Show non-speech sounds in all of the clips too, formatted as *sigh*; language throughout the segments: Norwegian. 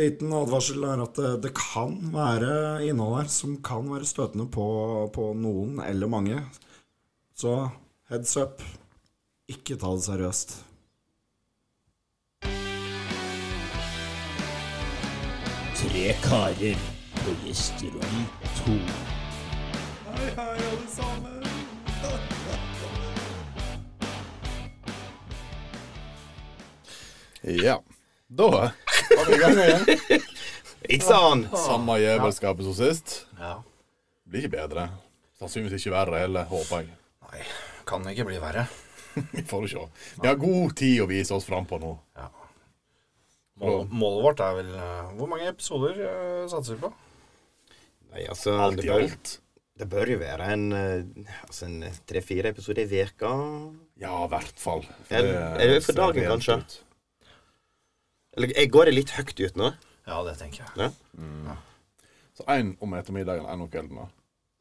Liten advarsel er at eh, det, det kan være innhold her som kan være støtende på, på noen eller mange. Så heads up. Ikke ta det seriøst. Tre karer på gjesterom to. Hei, hei, alle sammen. Ja. Da var vi i gang igjen. Ikke sant? Samme jævelskapet som sist. Ja. Blir ikke bedre. Sannsynligvis ikke verre heller, håper jeg. Nei, kan ikke bli verre. Vi får se. Vi har god tid å vise oss fram på nå. Ja. Mål, målet vårt er vel eh, Hvor mange episoder eh, satser vi på? Nei, altså, Alt det i bør, alt. det bør jo være en eh, altså en tre-fire episoder i veka. Ja, i hvert fall. Eller- eller for ser dagen, rent kanskje. ut. Eller jeg går det litt høyt ut nå? Ja, det tenker jeg. Ja. Mm. Så én om ettermiddagen, én om kvelden. da.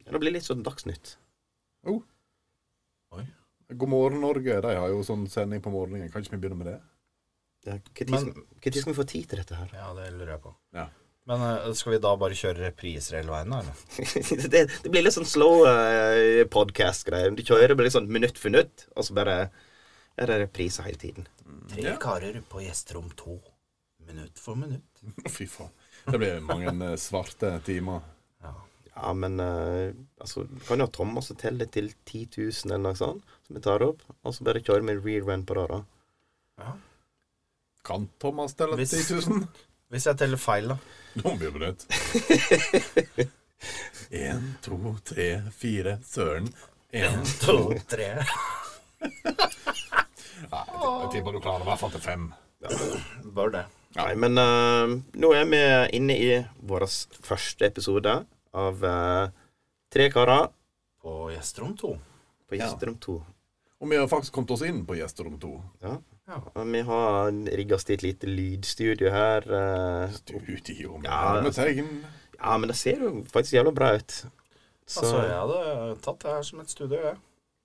Ja, det blir litt sånn Dagsnytt. God morgen, Norge. De har jo sånn sending på morgenen. Kan ikke vi begynne med det? Ja, Når Men- skal, hva tid skal vi få tid til dette her? *laughs* Ja, det lurer jeg på. Ja. Men eh, skal vi da bare kjøre repriser hele veien, da? eller? det, det blir litt sånn slow eh, podcast-greier. Du kjører bare litt sånn minutt for minutt, og så bare er det repriser hele tiden. Tre karer på gjesterom to. Minutt for minutt. Fy faen. Det blir mange eh, svarte timer. Ja. Ja, men eh, altså, du kan jo ha Thomas og telle til 10 000 eller noe sånt, som vi tar opp, og så bare kjører vi rerun på det, da. ja. Kan Thomas telle Hvis- 10 000? Hvis jeg teller feil, da. Nå blir det nytt. *laughs* Én, to, tre, fire. Søren. Én To, tre. *laughs* Nei, jeg tipper du klarer i hvert fall til fem. Bør det. Nei, men eh, nå er vi inne i vår første episode av eh, Tre karer På gjesterom to. på Gjesterom 2. Og vi har faktisk kommet oss inn på gjesterom to. Ja. Ja. Og vi har rigga oss til et lite lydstudio her. eh, Studio med Ja. hermetegn. ja, men det ser jo faktisk jævla bra ut. Så Altså, jeg hadde tatt det her som et studio, jeg.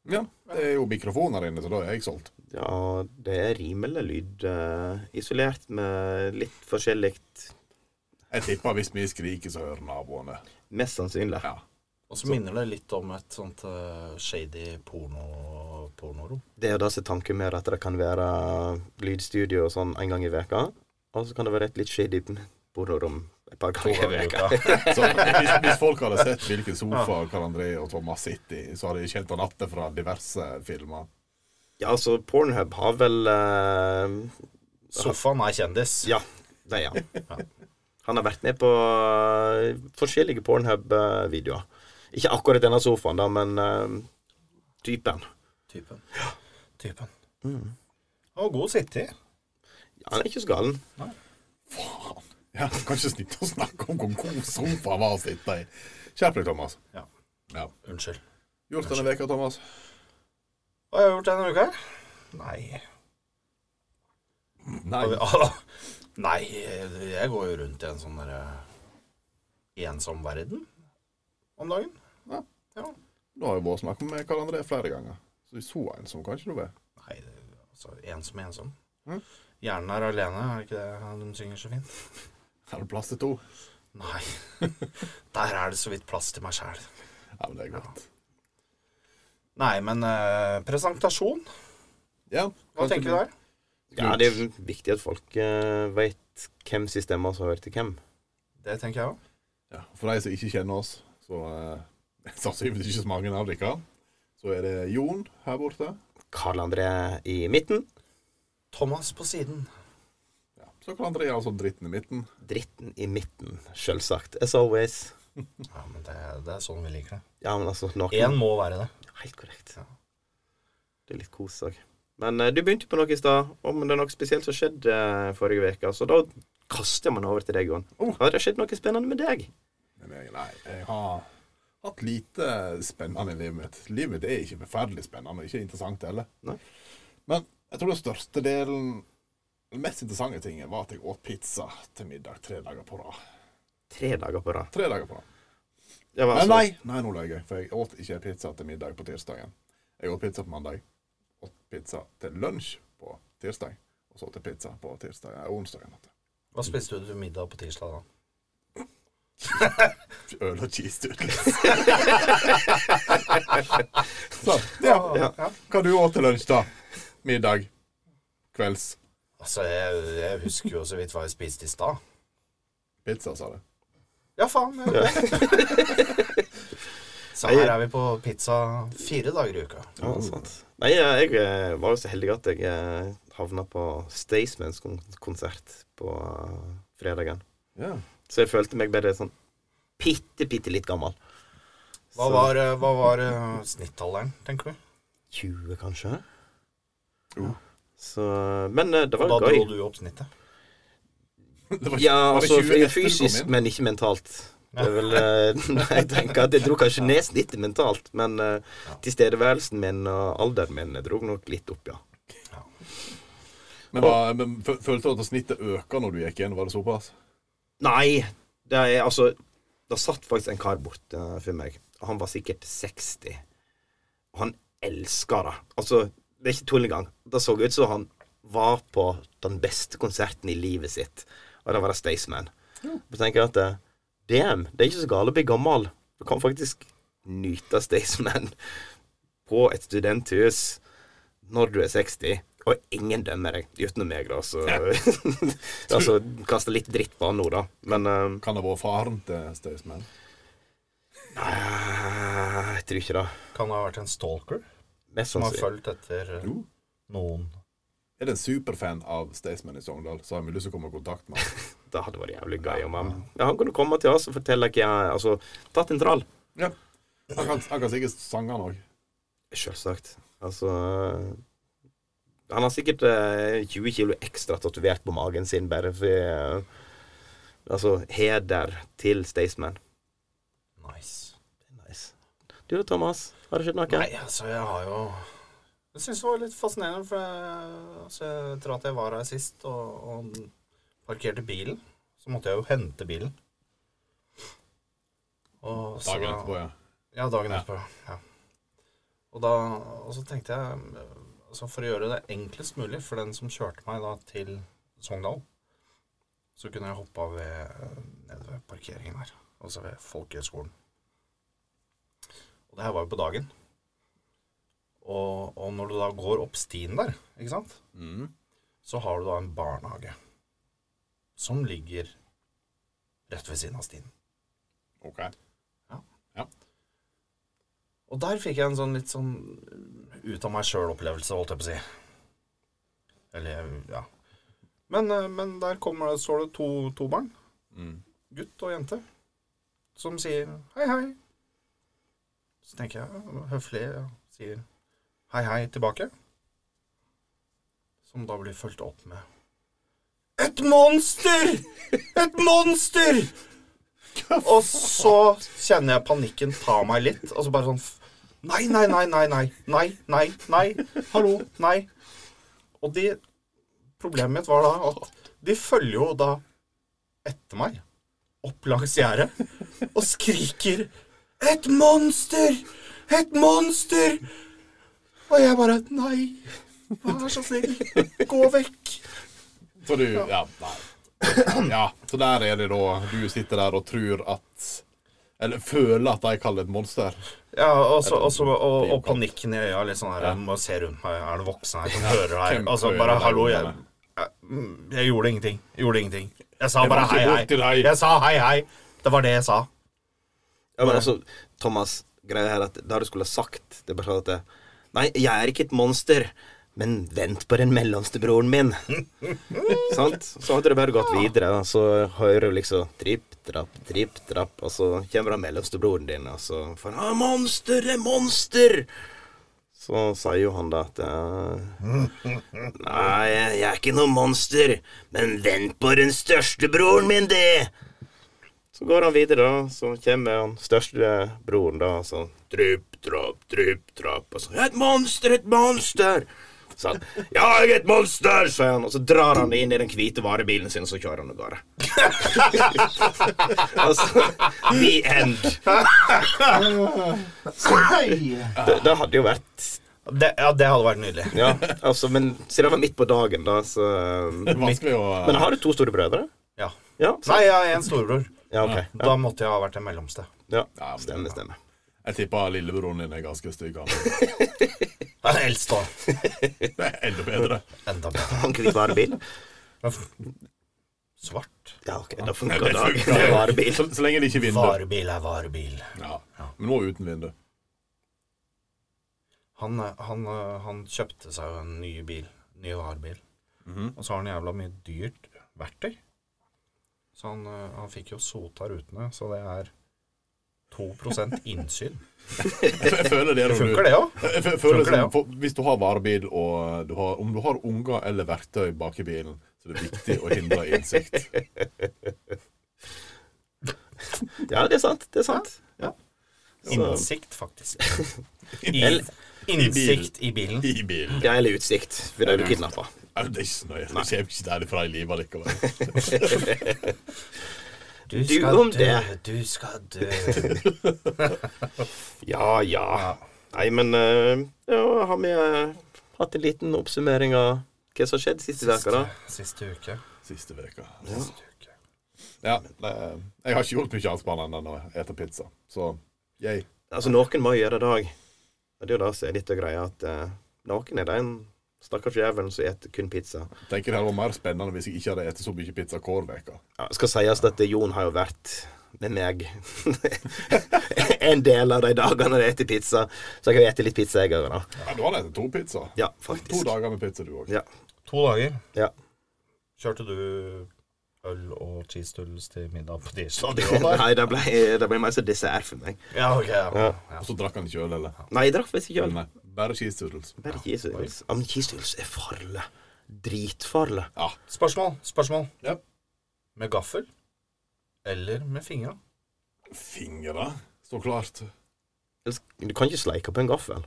Ja, det er jo mikrofoner inne, så da er jeg solgt. ja, det er rimelig lyd. eh, isolert med litt forskjellig Jeg tipper hvis vi skriker, så hører naboene. Mest sannsynlig. Ja. Og så minner det litt om et sånt eh, shady porno pornorom. Det er jo det som er tanken med at det kan være lydstudio og sånn en gang i veka Og så kan det være et litt shady borderom et par ganger i veka Så hvis, hvis folk hadde sett hvilken sofa Karl André og Thomas sitter i, så hadde de kjent han atte fra diverse filmer. *laughs* Ja, altså, Pornhub har vel eh, Sofaen er kjendis. Ja, det er han. Han har vært med på eh, forskjellige Pornhub-videoer. Ikke akkurat denne sofaen, da, men eh, typen. Typen. Typen. Mm. Og god sitte i. Ja, han er ikke så galen. Faen. Ja, *laughs* du kan ikke snitte å snakke om hvor god sofa var å sitte i. Skjerp deg, Thomas. Ja. Ja. Unnskyld. Gjort denne veka, Thomas. Hva har jeg gjort denne uka? her? Nei. Nei. Har vi- Ah, Nei, jeg går jo rundt i en sånn derre ensom verden om dagen. Nå har jo vært snakk med Karl André flere ganger. Så så ensom kan ikke du være. Nei, det, altså ensom, ensom. Mhm. Hjernen er alene, er det ikke det de synger så fint? Her er det plass til to. *laughs* Nei. Der er det så vidt plass til meg sjæl. Ja, men det er godt. Nei, men eh, presentasjon. Ja, Hva tenker vi der? Ja, Det er viktig at folk uh, veit hvem sin stemme som hører til hvem. Det tenker jeg òg. Ja, for de som ikke kjenner oss, så eh, *laughs* sannsynligvis ikke så mange av dere, så er det Jon her borte. Karl André i midten. Thomas på siden. Ja. Så Karl André er altså dritten i midten. Dritten i midten, sjølsagt. As always. Ja, men det, det er sånn vi liker det. Ja, men altså noen Én må være det. Helt korrekt. Ja. Det er litt kos òg. Men eh, du begynte på noe i stad, om det er noe spesielt som skjedde eh, forrige uke. Så da kaster man over til deg, Jon. Oh. Har det skjedd noe spennende med deg? Men jeg, nei, jeg har hatt lite spennende i livet mitt. Livet mitt er ikke forferdelig spennende, og ikke interessant heller. Nei. Men jeg tror den største delen, den mest interessante tingen, var at jeg åt pizza til middag tre dager på rad. Tre dager på rad. Tre dager på rad. Ja, men Nei, altså, nei, nei, nå løy jeg, for jeg åt ikke pizza til middag på tirsdagen. Jeg åt pizza på mandag, åt pizza til lunsj på tirsdag, og så til pizza på tirsdag, eh, onsdag. Hva spiste du til middag på tirsdag, da? Øl og cheese doodles. *laughs* Så, ja. ja. Hva du åt til lunsj, da? Middag? Kvelds? Altså, jeg, jeg husker jo så vidt hva jeg spiste i stad. Pizza, sa du. Ja, faen. Jeg gjorde det. *laughs* Så her er vi på pizza fire dager i uka. Ja, Oh. sant. Nei, eh, jeg eh, var jo så heldig at jeg eh, havna på Staysmans kon- konsert på eh, fredagen. Ja. Så jeg følte meg bare sånn bitte, bitte litt gammel. Så- Hva var, eh, hva var eh, snittalderen, tenker du? 20, kanskje? Jo. Så, men eh, det Da var dro gøy. du opp snittet. *laughs* Det var, Ja, var det 20 altså etter du kom fysisk, inn? men ikke mentalt. Det er vel, eh, *laughs* nei, jeg tenker at jeg dro kanskje ned snittet mentalt, men eh, tilstedeværelsen min og alderen min jeg dro nok litt opp, ja. men, var, men fø- følte du at snittet øka når du gikk inn? Var det såpass? Nei, det er altså Det satt faktisk en kar bort eh, for meg. Han var sikkert 60. Og han elska det. Altså, det er ikke tull engang. Det så ut som han var på den beste konserten i livet sitt, og det var det Staysman. Så tenker jeg at eh, damn, det er ikke så galt å bli gammel. Du kan faktisk nyte Staysman *laughs* på et studenthus når du er 60, og ingen dømmer deg, utenom meg, da, så *laughs* Altså, kaste litt dritt på han nå, da, men eh, Kan det ha vært faren til Staysman? Nei, jeg tror ikke det. Kan det ha vært en stalker Mest som har sannsynlig. fulgt etter eh, Jo. noen? Er det en superfan av Staysman i Sogndal, så har vi lyst til å komme i kontakt med han. Det hadde vært jævlig gøy om han ja, Han kunne komme til oss og fortelle hva Altså, tatt en trall. Ja. Han kan, han kan sikkert sange han òg. Selvsagt. Altså eh, Han har sikkert eh, 20 kilo ekstra tatovert på magen sin bare for eh, Altså, heder til Staysman. Nice. Nice. Du da, Thomas? Har det skjedd noe? Nei, altså, jeg har jo Jeg syns det var litt fascinerende, for jeg, altså, etter at jeg var her sist og, og parkerte bilen, så måtte jeg jo hente bilen. Og så- Dagen etterpå, ja. Ja, dagen etterpå. Ja. Og, da, og så tenkte jeg eh, altså For å gjøre det enklest mulig for den som kjørte meg da til Sogndal, så kunne jeg hoppa ved, eh, nede ved parkeringen her, altså ved folkehøgskolen. Og det her var jo på dagen. Og, og når du da går opp stien der, ikke sant, Mm. så har du da en barnehage som ligger rett ved siden av stien. OK. Og der fikk jeg en sånn litt sånn uh, ut av meg sjøl-opplevelse, holdt jeg på å si. Eller, eh, ja. Men, uh, men der kommer det, står det to, to barn, Mm. gutt og jente, som sier hei, hei. Så tenker jeg høflig ja, sier hei, hei tilbake. Som da blir fulgt opp med Et monster! Et monster! Og så kjenner jeg panikken ta meg litt, og så bare sånn f- Nei, nei, nei, nei, nei. Nei, nei, nei. Hallo. Nei. Og de Problemet mitt var da at de følger jo da etter meg opp langs gjerdet og skriker 'Et monster! Et monster!' Og jeg bare Nei, vær så snill, gå vekk. Så du Ja, nei. Ja, så der er det da du sitter der og tror at Eller føler at de kaller det et monster. *laughs* Ja, og, så, og, så, og, og panikken i øya. Litt sånn her, jeg må se rundt meg. Er det voksne her som hører her? hvem Altså, hører bare deg, hallo, jeg, ungene? jeg, mm, jeg gjorde ingenting. Jeg gjorde ingenting. Jeg sa Jeg var bare ikke hei, borti hei. deg. Jeg sa hei, hei. Det var det jeg sa. Ja, men altså, Thomas, greia her er at det du skulle ha sagt, det er bare sånn at det, Nei, jeg er ikke et monster, men vent på den mellomste broren min. Sant? Så hadde det bare gått videre, da. Så hører du liksom tripp, trapp, tripp, trapp, og så kommer den mellomste broren din, og så får han ah, 'Monster, det er monster!' Så sier jo han da at eh, Nei, jeg er ikke noe monster, men vent på den største broren min, det! Så går han videre, da. Så kommer han største broren, da. Så drypp, trapp, drypp, trapp. Og så Et monster, et monster! Så han, ja, jeg er et monster, sier han. Og så drar han inn i den hvite varebilen sin, og så kjører han av gårde. *laughs* altså, the end. det, det hadde jo vært Det, ja, det hadde vært nydelig. Ja, altså, men siden det var midt på dagen, da, så Det er vanskelig å Men har du to store brødre? Ja. Ja, Nei, jeg er en storebror. ja ok. Ja, Da måtte jeg ha vært den mellomste. ja. Stemmer, stemmer. Jeg tipper lillebroren din er ganske stygg. *laughs* Han Den eldste da. Det er enda bedre. Enda bedre. Han fikk varebil? Men f- Svart. Ja, ok, da funker Det det. funker. Det er Varebil. Så, så lenge det ikke er vindu. Varebil er varebil. Ja. Men nå uten vindu. Han, eh, han, eh, han kjøpte seg jo en ny bil. Ny varebil. Og så har han jævla mye dyrt verktøy. Så han, eh, han fikk jo sota rutene, så det er 2 innsyn. Jeg *laughs* jeg føler det Det når du- funker, det òg. *laughs* Jeg fø- føler Funker det, ja? som, for, Hvis du har varebil, og du har, om du har unger eller verktøy bak i bilen, så er det viktig å hindre innsikt. *laughs* Ja, det er sant. Det er sant. Ja. Så- Innsikt, faktisk. Eller- Innsikt i bilen. I bilen. Ja, eller utsikt, for da er du kidnappa. Ja, Det er ikke så nøye. Det kommer ikke derifra i livet likevel. Du skal om dø, det. du skal dø. Ja, ja. Nei, men eh, ja, har vi eh, hatt en liten oppsummering av hva som har skjedd siste uka, da? Siste uke. Siste veka. Siste uke. Ja, det, jeg har ikke gjort mye annet spennende enn å ete pizza. Så yay. Altså, noen må gjøre det òg. Og det er jo det som er litt av greia, at eh, noen er den stakkars jævelen som spiser kun pizza. Tenker det hadde vært mer spennende hvis jeg ikke hadde spist så mye pizza hver uke. Ja, skal sies at eh, Jon har jo vært med meg *laughs* en del av de dagene jeg spiser pizza. Så jeg har jo spist litt pizza, jeg òg, da. Ja, du har spist to pizza. Ja, To faktisk. dager med pizza, du òg. Ja. To dager. Ja. Kjørte du øl og cheese doodles til middag på tirsdag? Det var *laughs* da. Nei, det ble, det ble mer som dessert for meg. Ja, ok. Ja. Ja. Og så drakk han ikke øl, eller? Nei, jeg drakk faktisk ikke øl. Nei, bare cheese doodles. Bare kisehus. Ja, men kisehus er farlig. Dritfarlig. Ja. Spørsmål. Spørsmål. Ja. Med gaffel eller med fingra? Fingre, så klart. Ellers- Du kan ikke sleike på en gaffel.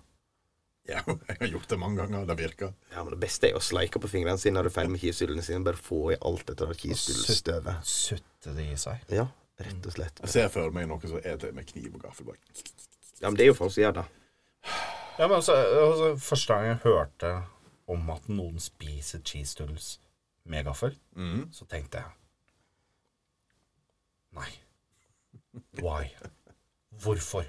Ja, *laughs* jeg har gjort det mange ganger. Det virker. Ja, men Det beste er å sleike på fingrene sine når du er ferdig med kisehulene sine. Bare få i alt dette der kisehulstøvet. Sutte det i seg. Ja, rett og slett. Jeg ser for meg noe som er til med kniv og gaffel. bare. Ja, men Det er jo folk som gjør det. Ja, men altså, altså Første gang jeg hørte om at noen spiser cheese doodles med gaffel, Mhm. så tenkte jeg Nei. Why? Hvorfor?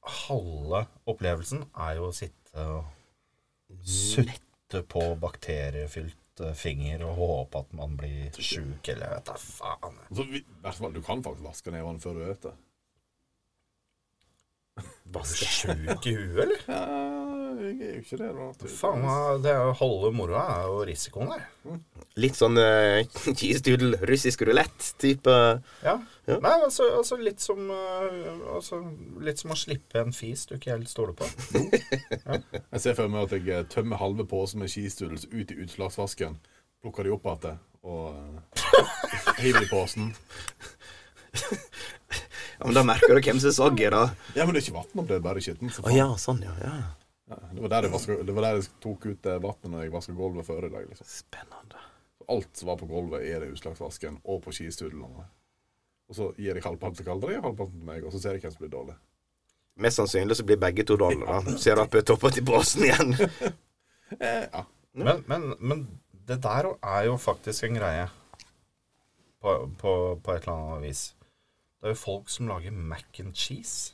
Halve opplevelsen er jo å sitte og sutte på bakteriefylt eh, finger og håpe at man blir sjuk, eller vet da faen. Så vi- i hvert fall, Du kan faktisk vaske nevene før du spiser. Var du sjuk i huet, eller? Ja, jeg er jo ikke det, da. Faen, det er jo halve moroa er jo risikoen der. Litt sånn *laughs* uh, kisehudel, russisk rulett-type. Ja. Ja. Nei, altså, altså, litt som, eh, altså Litt som å slippe en fis du ikke helt stoler på. Jeg ser for meg at jeg eh, tømmer halve posen med cheese doodles ut i utslagsvasken, plukker de opp igjen og eh, *laughs* hiver i posen. Ja, men Da merker du hvem som sogg i det. Ja, men det er ikke vann om det, er bare skitten. så Å faen. ja, sånn, ja. ja. Ja, Det var der jeg, vaska, det var der jeg tok ut eh, vannet når jeg vaska gulvet før i dag. liksom. Spennende. Alt som var på gulvet, er det utslagsvasken og på skistudlene. Og så gir jeg halvparten til Kaldre og halvparten til meg, og så ser jeg hvem som blir dårlig. Mest sannsynlig så blir begge to dollar. da. Ser opp på toppen til båsen igjen. *laughs* Eh, ja. Men, men, men det der er jo faktisk en greie. På, på, på et eller annet vis. Det er jo folk som lager mac and cheese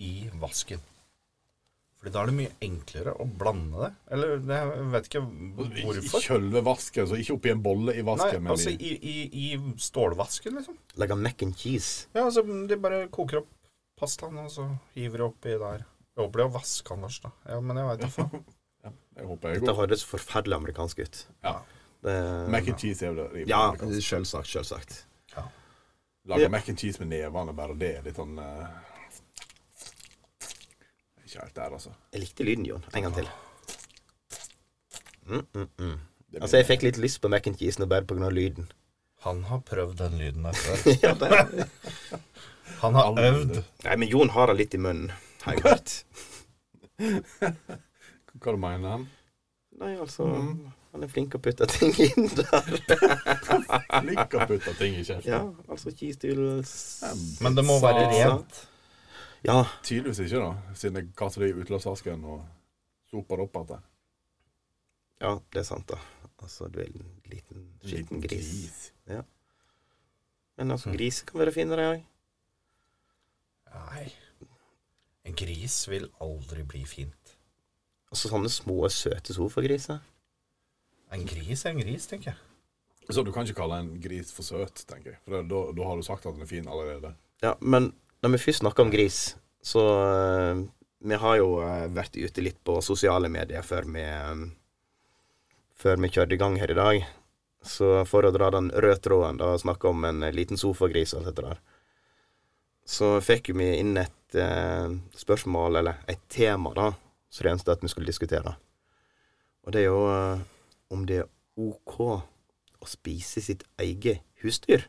i vasken. Fordi da er det mye enklere å blande det. Eller jeg vet ikke I- I hvorfor. kjølve vasken, så ikke oppi en bolle i Nei, vasken. men altså i, i, i, i stålvasken, liksom. Legger mac and cheese. Ja, altså, de bare koker opp pastaen, og så hiver de oppi der. Jeg håper de har vaska den først, da. Ja, men jeg veit da faen. jeg håper jeg Det går. høres forferdelig amerikansk ut. Ja. Det, Mac and cheese er jo det. rimelig ja, amerikansk. selvsagt, selvsagt. Lage Ja. mac and cheese med nevene, bare det er litt sånn eh, Ikke helt der, altså. Jeg likte lyden, Jon. En gang til. Mm, mm, mm. Det Altså, jeg fikk litt lyst på mac and cheese nå bare pga. lyden. *laughs* Han har prøvd den lyden der før. *laughs* Ja, det- Han har øvd. Nei, men Jon har det litt i munnen, har jeg hørt. Hva du mener han? Nei, altså Han er flink å putte ting inn der. Liker å putte ting i kjeften. Ja, altså cheese doodles Men det må være Salsa. rent. Ja, Tydeligvis ikke, da, siden jeg kaster det i utløpsvasken og soper det opp igjen. ja, det er sant, da. Altså du er en liten skitten gris. Ja. Men altså, griser kan være finere òg. Nei. En gris vil aldri bli fint. Altså sånne små, søte sofagriser. En gris er en gris, tenker jeg. Så du kan ikke kalle en gris for søt, tenker jeg. For det- da, da har du sagt at den er fin allerede. Ja, men når vi først snakker om gris, så eh, Vi har jo eh, vært ute litt på sosiale medier før vi eh, Før vi kjørte i gang her i dag. Så for å dra den røde tråden da, og snakke om en eh, liten sofagris og alt dette der, så fikk jo vi inn et eh, spørsmål, eller et tema, da, som det eneste at vi skulle diskutere. Og det er jo eh, om det er OK å spise sitt eget husdyr.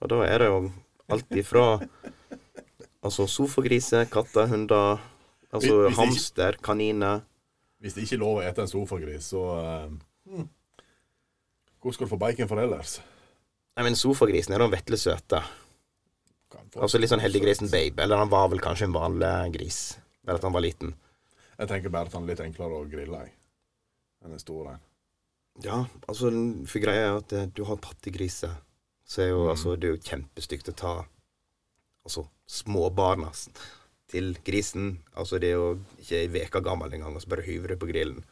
Og da er det jo alt ifra *laughs* altså sofagriser, katter, hunder, Hvis- altså hvis ikke- hamster, kaniner Hvis det ikke er lov å ete en sofagris, så eh, Hvor skal du få bacon for ellers? Nei, men sofagrisen er da vetle søte. Kan få- Altså litt sånn heldiggrisen babe. Eller han var vel kanskje en vanlig gris. Bare at han var liten. Jeg tenker bare at den er litt enklere å grille jeg, enn en stor en. Ja, altså for greia er at eh, du har pattegriser. Så er jo altså Det er jo kjempestygt å ta altså småbarna s- til grisen. Altså det er jo ikke ei uke gammel engang, og så bare hyver det på grillen.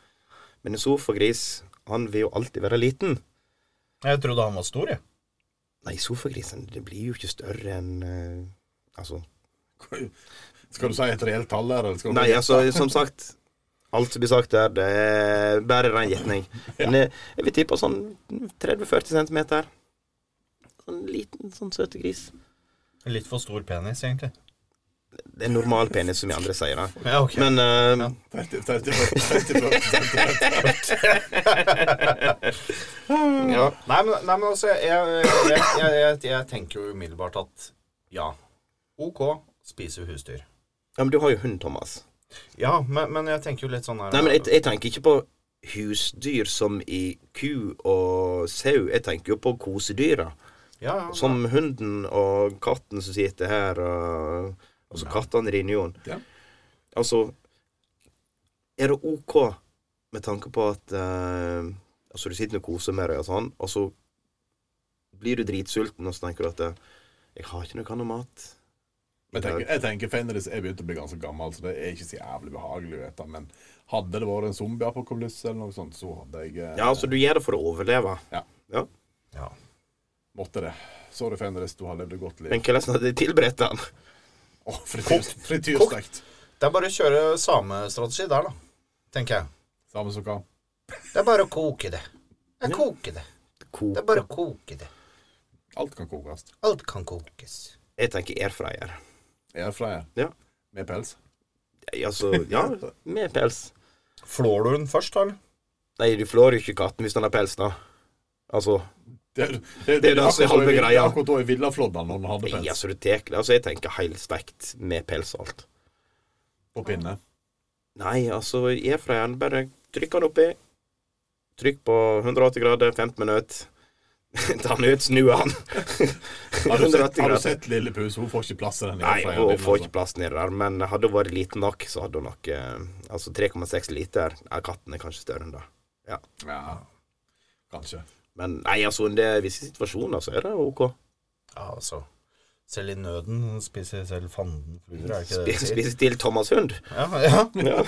Men en sofagris, han vil jo alltid være liten. Jeg trodde han var stor, jeg. Nei, sofagrisen, det blir jo ikke større enn eh, Altså Skal du si et reelt tall der, eller skal du Nei, altså, som sagt Alt som blir sagt der, det er bare ren gjetning. Men eh, jeg vil tippe sånn 30-40 cm. Sånn liten, sånn søte gris. Litt for stor penis, egentlig. Det er normal penis, som vi andre sier. da. Ja, ok. Men eh, 30, 30, 30, *laughs* 30, Mm. Ja. Nei, men, nei, men altså, jeg, jeg, jeg, jeg, jeg tenker jo umiddelbart at ja, OK, spise husdyr. ja, men du har jo hund, Thomas. Ja, men, men jeg tenker jo litt sånn her Nei, men jeg, jeg tenker ikke på husdyr som i ku og sau. Jeg tenker jo på kosedyra. ja, ja, Som hunden og katten som sitter her, og, altså kattene dine, Jon. Ja. Altså, er det OK med tanke på at eh, Altså, du sitter og koser med deg og sånn, og så blir du dritsulten, og så tenker du at eh, 'Jeg har ikke noe annet mat'. Jeg tenker, jeg tenker Fenris er begynt å bli ganske gammel, så det er ikke så jævlig behagelig å ete. Men hadde det vært en zombieapokalypse eller noe sånt, så hadde jeg eh, Ja, altså, du gjør det for å overleve. Ja. ja. ja. måtte det. Sorry, Fenris, du har levd et godt liv. Men hvordan hadde de tilberedt den? Åh, frityr, frityrstekt. Det er bare å kjøre samme strategi der, da. Tenker jeg. Samme som hva. Det er bare å koke det. Jeg koker det. Det Ko- er bare å koke det. Alt kan kokes. Alt kan kokes. Jeg tenker airfryer. Airfryer Ja. med pels. Altså, ja, med pels. Flår du den først, da? eller? Nei, du flår jo ikke katten hvis den har pels, da. Altså Det, Det er det som er halve greia. Akkurat da i Villaflodden, når den hadde Nei, pels altså, du tek, altså, jeg tenker helstekt med pels og alt. på pinne. Nei, altså, airfryeren, bare trykk den oppi. Trykk på 180 grader, 15 minutter. *laughs* Ta den ut, snu den. Har *laughs* du sett, 180 har du grader. sett Lille Pus? Hun får ikke plass i den Nei, airfryeren hun din, får altså. ikke plass nedi der, men hadde hun vært liten nok, så hadde hun nok eh, Altså 3,6 liter. Ja, katten er kanskje større enn det. Ja. Ja, kanskje. Men nei, altså, det er visse situasjoner, så er det OK. Ja, altså. Selv i nøden spiser selv fanden fluer, er det ikke det de Spise, sier? spise til Thomas hund. Ja, ja. Ja.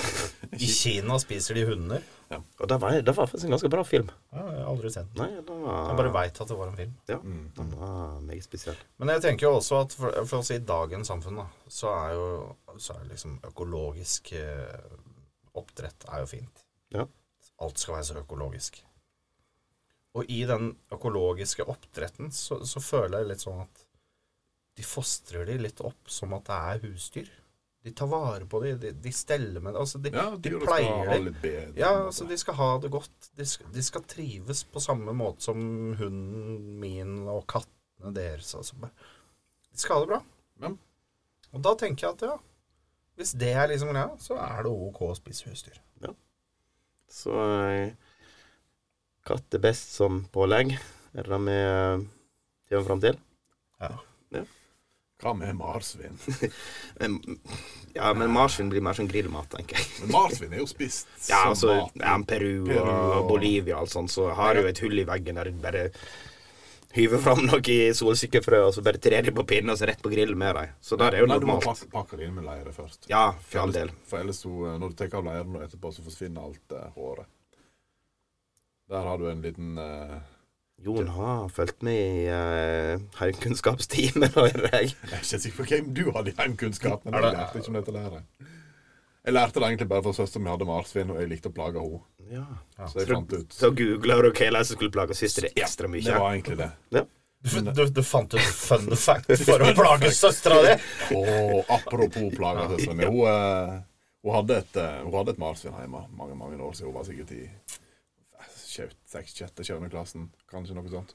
I Kina spiser de hunder. Og det var, det var faktisk en ganske bra film. Ja, jeg har aldri sett den. Nei, den var, Jeg bare veit at det var en film. ja, Mm, den var meget spesiell. Men jeg tenker jo også at for, for å si i dagens samfunn, da, så er jo så er liksom økologisk eh, oppdrett er jo fint. Ja. Alt skal være så økologisk. Og i den økologiske oppdretten så, så føler jeg litt sånn at de fostrer de litt opp som at det er husdyr. De tar vare på dem, de, de steller med det. Altså, de, Ja, de dyra skal pleier ha dem. litt bedre. Ja, altså de skal ha det godt. De skal, de skal trives på samme måte som hunden min og kattene deres. Altså. bare- De skal ha det bra. Ja. Og da tenker jeg at ja, hvis det er liksom greia, så er det OK å spise husdyr. Så eh, katt er best som pålegg. Er det det vi eh, kommer fram til? Ja. Hva med marsvin? Men, ja, men marsvin blir mer sånn grillmat, tenker jeg. Men marsvin er jo spist *laughs* Ja, som altså, mat. ja, Peru, Peru og- og Bolivia og alt sånt, så har du jo et hull i veggen der du bare hyver fram noe i solsikkefrø, og så bare trer de på pinnen, og så rett på grillen med dem. Så der er jo Nei, du må normalt. pakke, pakke det inn med leire først. Ja, for all del. For ellers så, eh, når du tar av leiren og etterpå, så forsvinner alt eh, håret. Der har du en liten eh, *laughs* Jon har fulgt med i eh, heimkunnskapstimen, *laughs* hører jeg. Jeg er ikke sikker på hvem du hadde i heimkunnskap, men Er jeg det- lærte ikke om dette læret. Jeg lærte det egentlig bare for søsteren min hadde marsvin, og jeg likte å plage henne. Ja. Så jeg fant ut Så googler du hva jeg skulle plage søster ekstra mye. Det var egentlig det. Du, du, du fant ut fun fact for å plage søstera di? Og apropos plaga søsteren min. Hun, eh, hun, hadde et, eh, hun hadde et marsvin hjemme mange mange år siden. Hun var sikkert i eh, sjette-sjette klassen, kanskje noe sånt.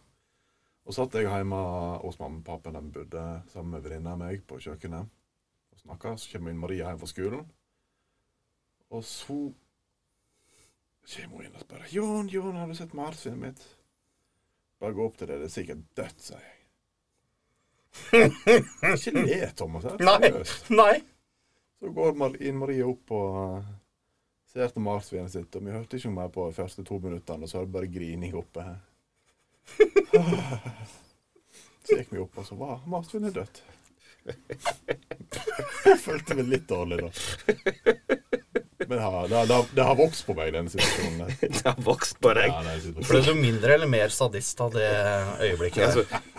Og satt jeg hjemme hos mamma og pappa, de bodde sammen med venninna mi på kjøkkenet. Og snakka, så kommer inn Maria hjem fra skolen. Og så kommer hun inn og spør 'Jon, Jon, har du sett marsvinet mitt?' 'Bare gå opp til det, det er sikkert dødt', sier jeg. *laughs* Ikke le, Thomas. det er Nei. seriøst. Nei. Så går Mar inn Marie opp og eh, ser til marsvinet sitt, og vi hørte ikke mer på de første to minuttene, og så var det bare grining oppe her. *laughs* Så gikk vi opp, og så var marsvinet dødt. Jeg følte meg litt dårlig da. Men ja, det, har- det, har- det har vokst på meg, denne situasjonen. der. *laughs* Det har vokst på deg. Ja, denne situasjonen. Ble du mindre eller mer sadist av det øyeblikket? Altså,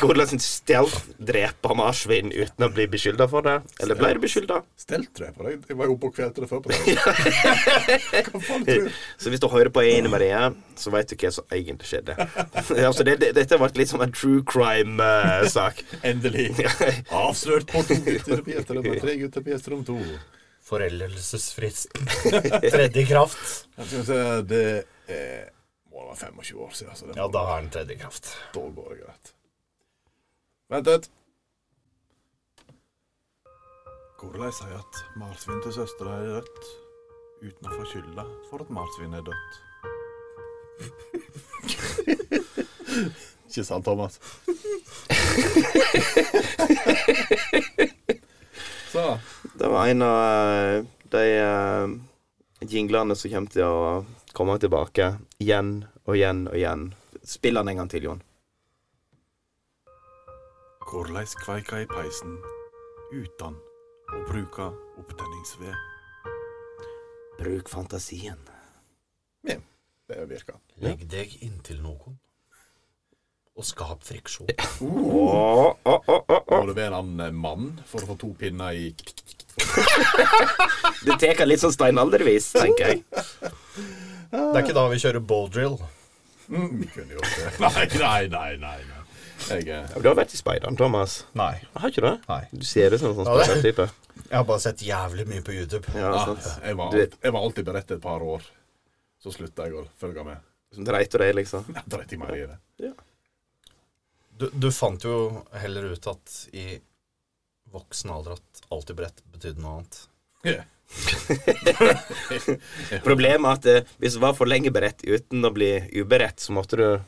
hvordan stealth dreper marsvin uten å bli beskylda for det? Eller ble du beskylda? Stelt tror jeg på deg. Jeg var jo oppe og kvelte det før på deg. Hva faen tror du? Så hvis du hører på Ine Marie, så veit du hva som egentlig skjedde. *laughs* altså, det, det, dette ble litt som en true eh, crime-sak. Endelig. Avslørt på to gutter på gjesterom, og tre gutter på gjesterom to. Foreldelsesfristen. Tredje kraft. Jeg skal se, det er, må være 25 år siden, så det Ja, da har den tredje kraft. da går det greit. Vent litt. Hvordan sier at marsvin til søstera er dødt, uten å få skylda for at marsvin er dødt? Ikke sant, Thomas? Så, Det var en av eh, de eh, jinglene som kommer til å komme tilbake igjen og igjen og igjen. Spill den en gang til, Jon. hvordan kveika i peisen uten å bruke opptenningsved? Bruk fantasien. Det virker. Legg deg inntil noen, og skap friksjon. Åh, åh, åh, åh, åh. Må du være en annen eh, mann for å få to pinner i Det tar litt sånn steinaldervis, tenker jeg. Det er ikke da vi kjører bow drill. Vi kunne gjort det. *laughs* Nei, nei, nei. nei, nei. Jeg, eh, Du har vært i speideren, Thomas. Nei. Har ikke du det? Nei. Du ser ut som en sånn Ja, det- speidertype. Jeg har bare sett jævlig mye på YouTube. Ja, ja, sånn sant. jeg, var, Du- jeg var alltid beredt et par år. Så slutta jeg å følge med. *laughs* Som dreit og deg, liksom. Jeg dreit i meg i det. Du, du fant jo heller ut at i voksen alder at alltid brett betydde noe annet. Ja. Problemet er at eh, hvis du var for lenge beredt uten å bli uberedt, så måtte du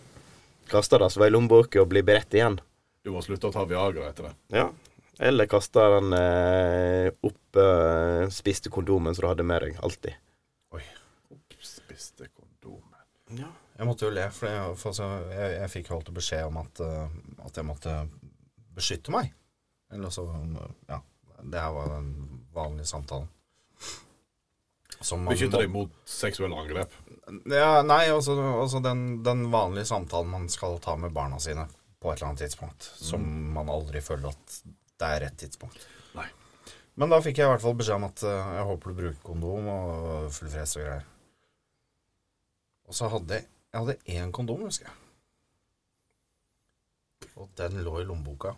kaste det som var i lommeboka, og bli beredt igjen. Du må slutte å ta Viagra etter det. Ja. Eller kaste den eh, opp eh, spiste kondomen som du hadde med deg, alltid. Spiste kondomet. Jeg måtte jo le, for jeg, for altså, jeg, jeg fikk jo alltid beskjed om at, eh, at jeg måtte beskytte meg. Eller altså Ja. Det her var den vanlige samtalen. Som man- Beskytte deg mot seksuelle angrep. Ja, nei, altså, altså den, den vanlige samtalen man skal ta med barna sine på et eller annet tidspunkt, som man aldri føler at det er rett tidspunkt. Mm. Nei. Men da fikk jeg i hvert fall beskjed om at eh, jeg håper du bruker kondom og full fres og greier. Og så hadde jeg, jeg hadde én kondom, husker jeg. Og den lå i lommeboka.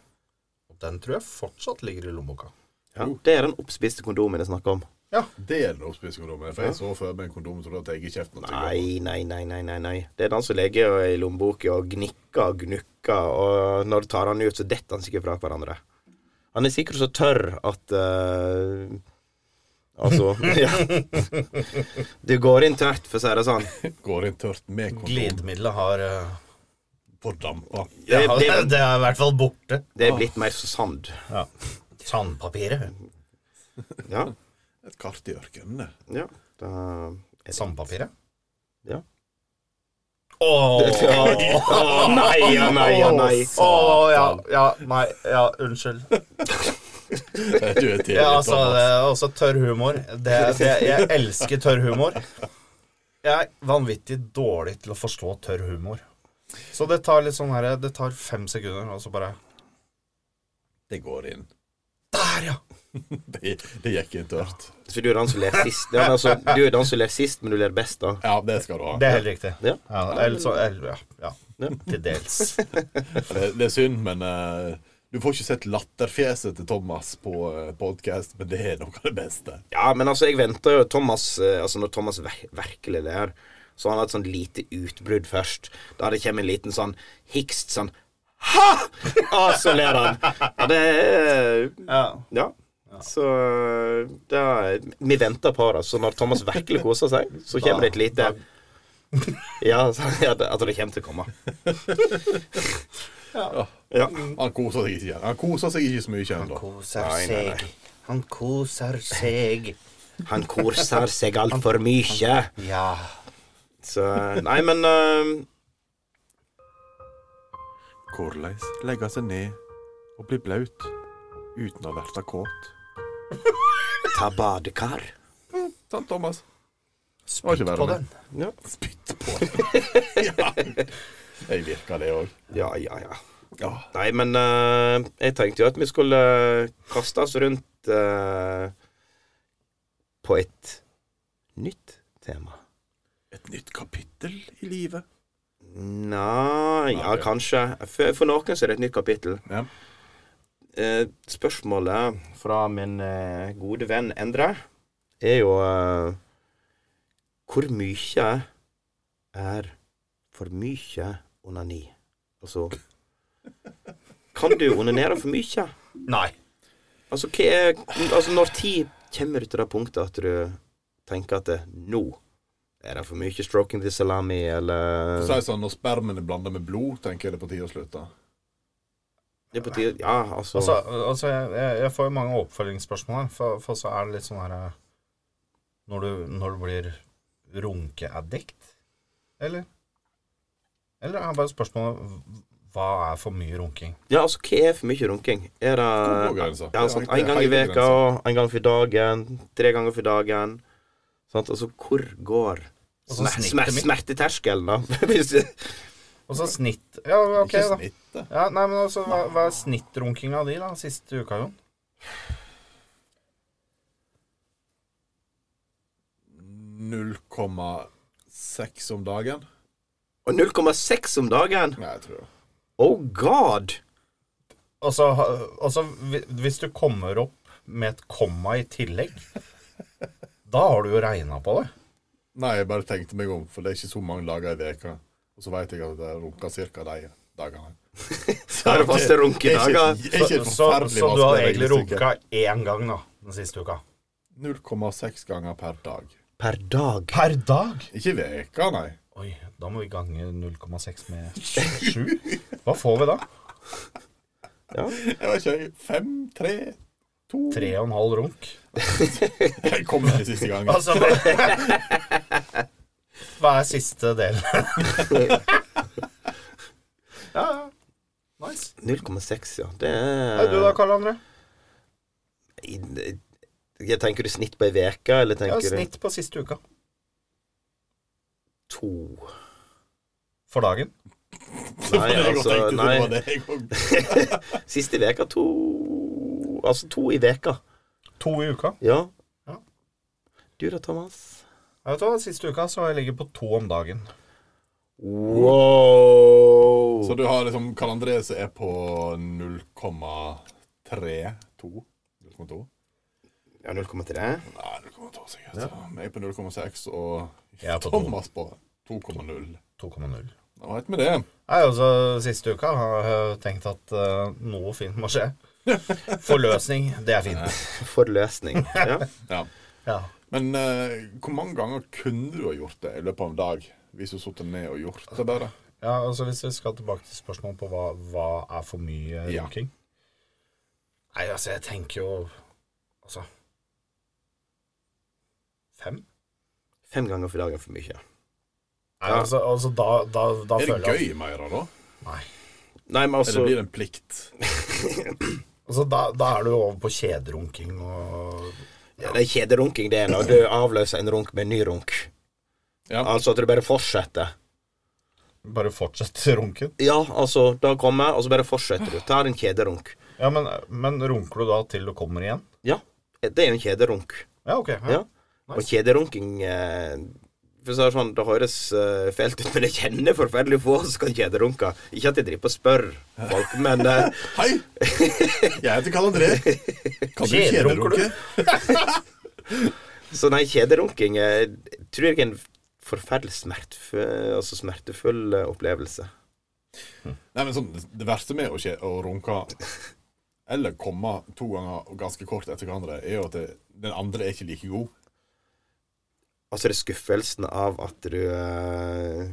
Og den tror jeg fortsatt ligger i lommeboka. Ja. Uh. Det er den oppspiste kondomen jeg snakker om. Det er det å spise kondomet. For jeg så før med en kondom som du har tatt i kjeften. og *laughs* tenker, Nei, nei, nei, nei, nei, nei. Det er den som ligger i lommeboka og gnikker og gnukker, og når du tar den ut, så detter den sikkert fra hverandre. Han er sikkert så tørr at eh, Altså *laughs* ja. Du går inn tørt, for å si det sånn. Går inn tørt med kondom. Glidemiddelet har eh, Fordampa. Det, Det, det, *laughs* det er i hvert fall borte. det er blitt mer så sand. Sandpapiret. Ja. Et kart i ørkenen, det. ja. Da er det- Sandpapiret? Ja. *laughs* Ååå. Å, nei, ja, nei, ja, nei. ja, ja, nei, ja, unnskyld. Du er tidlig, Ja, altså, Thomas. det er også tørr humor. Det, det, jeg elsker tørr humor. Jeg er vanvittig dårlig til å forstå tørr humor. Så det tar litt sånn her Det tar fem sekunder, og så bare Det går inn. Der, ja! Det, det gikk inn tørt. For du er den som ler sist. Ja, men altså, du er den som ler sist, men du ler best, da. Ja, det skal du ha. Det er helt riktig. Ja. Ja, eller så eller, ja, ja. Til dels. Det, det er synd, men eh, du får ikke sett latterfjeset til Thomas på uh, podkast, men det er noe av det beste. Ja, men altså, jeg venter jo Thomas eh, Altså, når Thomas ver virkelig ler, så har han hatt sånn lite utbrudd først. Da det kommer en liten sånn hikst sånn Ha! Og så ler han. Ja, det er Ja. Ja. Så eh, det er, Vi venter på det. Så når Thomas virkelig koser seg, så kommer det et lite Ja, så, ja det, altså, det kommer til å komme. Ja. Han koser seg ikke, han koser seg ikke så mye ennå. Koser seg. Han koser seg. *laughs* Han koser seg altfor mye. Ja. Så Nei, men eh, Hvordan legge seg ned og bli blaut uten å verte kåt? ta badekar. Sant, Thomas? Var Spytt ikke verre på med. den. Ja. Spytt *laughs* på ja. Jeg virker det òg. ja, ja, ja. Ja. Nei, men eh, jeg tenkte jo at vi skulle eh, kaste oss rundt eh, på et nytt tema. Et nytt kapittel i livet. Nei Ja, Ok. kanskje. For, for noen så er det et nytt kapittel. Ja. Eh, spørsmålet fra min eh, gode venn Endre er jo eh, Hvor mye er for mye onani? Altså Kan du onanere for mye? Nei. Altså, hva er, altså når tid kommer du til det punktet at du tenker at det, nå er det for mye stroking the salami, eller Så er det sånn, Når spermen er blanda med blod, tenker jeg det er på tide å slutte. Det er på tide Ja, altså, Altså, altså jeg, jeg, jeg får jo mange oppfølgingsspørsmål her, for, for så er det litt sånn her eh, Når du, når du blir runkeaddikt, eller? Eller er det bare spørsmålet hv- hva er for mye runking? Ja, altså, hva er for mye runking? Er Hvor går det grensa? ja, sant, Det er En gang i hele veka, grensa. en gang for dagen, tre ganger for dagen sant? Altså, hvor går Og så smer snittet smer mitt. smerteterskelen, da? *laughs* Hvis du- Og så snitt Ja, OK, Ikke da. snittet. Ja, nei, men altså, hva, hva er snittrunkinga di, da, siste uka, Jon? da. 0,6 om dagen. Og 0,6 om dagen! Nei, jeg tror det. Oh god! Og så ha- og så hvi- hvis du kommer opp med et komma i tillegg, da har du jo regna på det. Nei, jeg bare tenkte meg om, for det er ikke så mange dager i veka. Og så veit jeg at det runker ca. de dagene. *laughs* Det er det faste runkedager. Det er ikke Så, et så, forferdelig så du har vanskelig egentlig regnestykke. runka én gang, da, den siste uka? 0,6 ganger per dag. Per dag. Per dag? Ikke veka, nei. Oi, da må vi gange 0,6 med 7. Hva får vi da? Jeg vet ikke, fem, tre, to Tre og en halv runk? Jeg kom med det siste gangen. *laughs* Altså Hva hva er siste del? ja, ja. Nice. 0,6, ja. Det Hei, er du da, Karl André? I- Jeg tenker du snitt på ei uke, eller Ja, tenker snitt på siste uka. du to? For dagen. Nei, altså, nei. det jeg også- Siste veka to Altså to i veka. To i uka. Ja. Ja. Du da, Thomas? Ja, Vet du hva, Siste uka så har jeg ligget på to om dagen. Wow! Så du har liksom Karl André som er på 0,32? 0,2? Ja, 0,3. Nei, 0,2 sikkert. Jeg er på 0,6, og Jeg er på to. Thomas på 2,0. 2,0. Hva vet vi det? Jeg har også altså, siste uka har jeg tenkt at eh, noe fint må skje. Forløsning, det er fint. Forløsning. Ja. Ja. Ja. Men eh, hvor mange ganger kunne du ha gjort det i løpet av en dag? Hvis du satte ned og gjort det bare? Ja, altså Hvis vi skal tilbake til spørsmålet på hva, hva er for mye Ja. runking Nei, altså, jeg tenker jo Altså Fem? Fem ganger for dagen er for mye. Nei, altså, altså da, da, da Er det føler jeg gøy mer, da? Nei, men Eller altså blir det en plikt? altså, da, da er du over på kjederunking og Ja, det er kjederunking, det er når du avløser en runk med en ny runk. Ja. Altså at du bare fortsetter. Bare fortsett *laughs* runken. Ja, altså, da kommer, og så bare fortsetter du. Tar en kjederunk. Ja, men, men runker du da til du kommer igjen? Ja, Eh, det er jo en kjederunk. Ja, ok. Ja. Og kjederunking eh, For å si det sånn, det høres eh, fælt ut, men jeg kjenner forferdelig få som kan kjederunke. Ikke at jeg driver på og spør folk, men eh, Hei! Jeg heter Karl André. Kan du Kjederunker du? kjederunke? Så nei, kjederunking eh, tror jeg er en forferdelig smertefø- altså smertefull eh, opplevelse. Nei, men sånn, Det verste med å, skje, å runke eller komme to ganger og ganske kort etter hverandre, er jo at det, den andre er ikke like god. Altså det er skuffelsen av at du eh,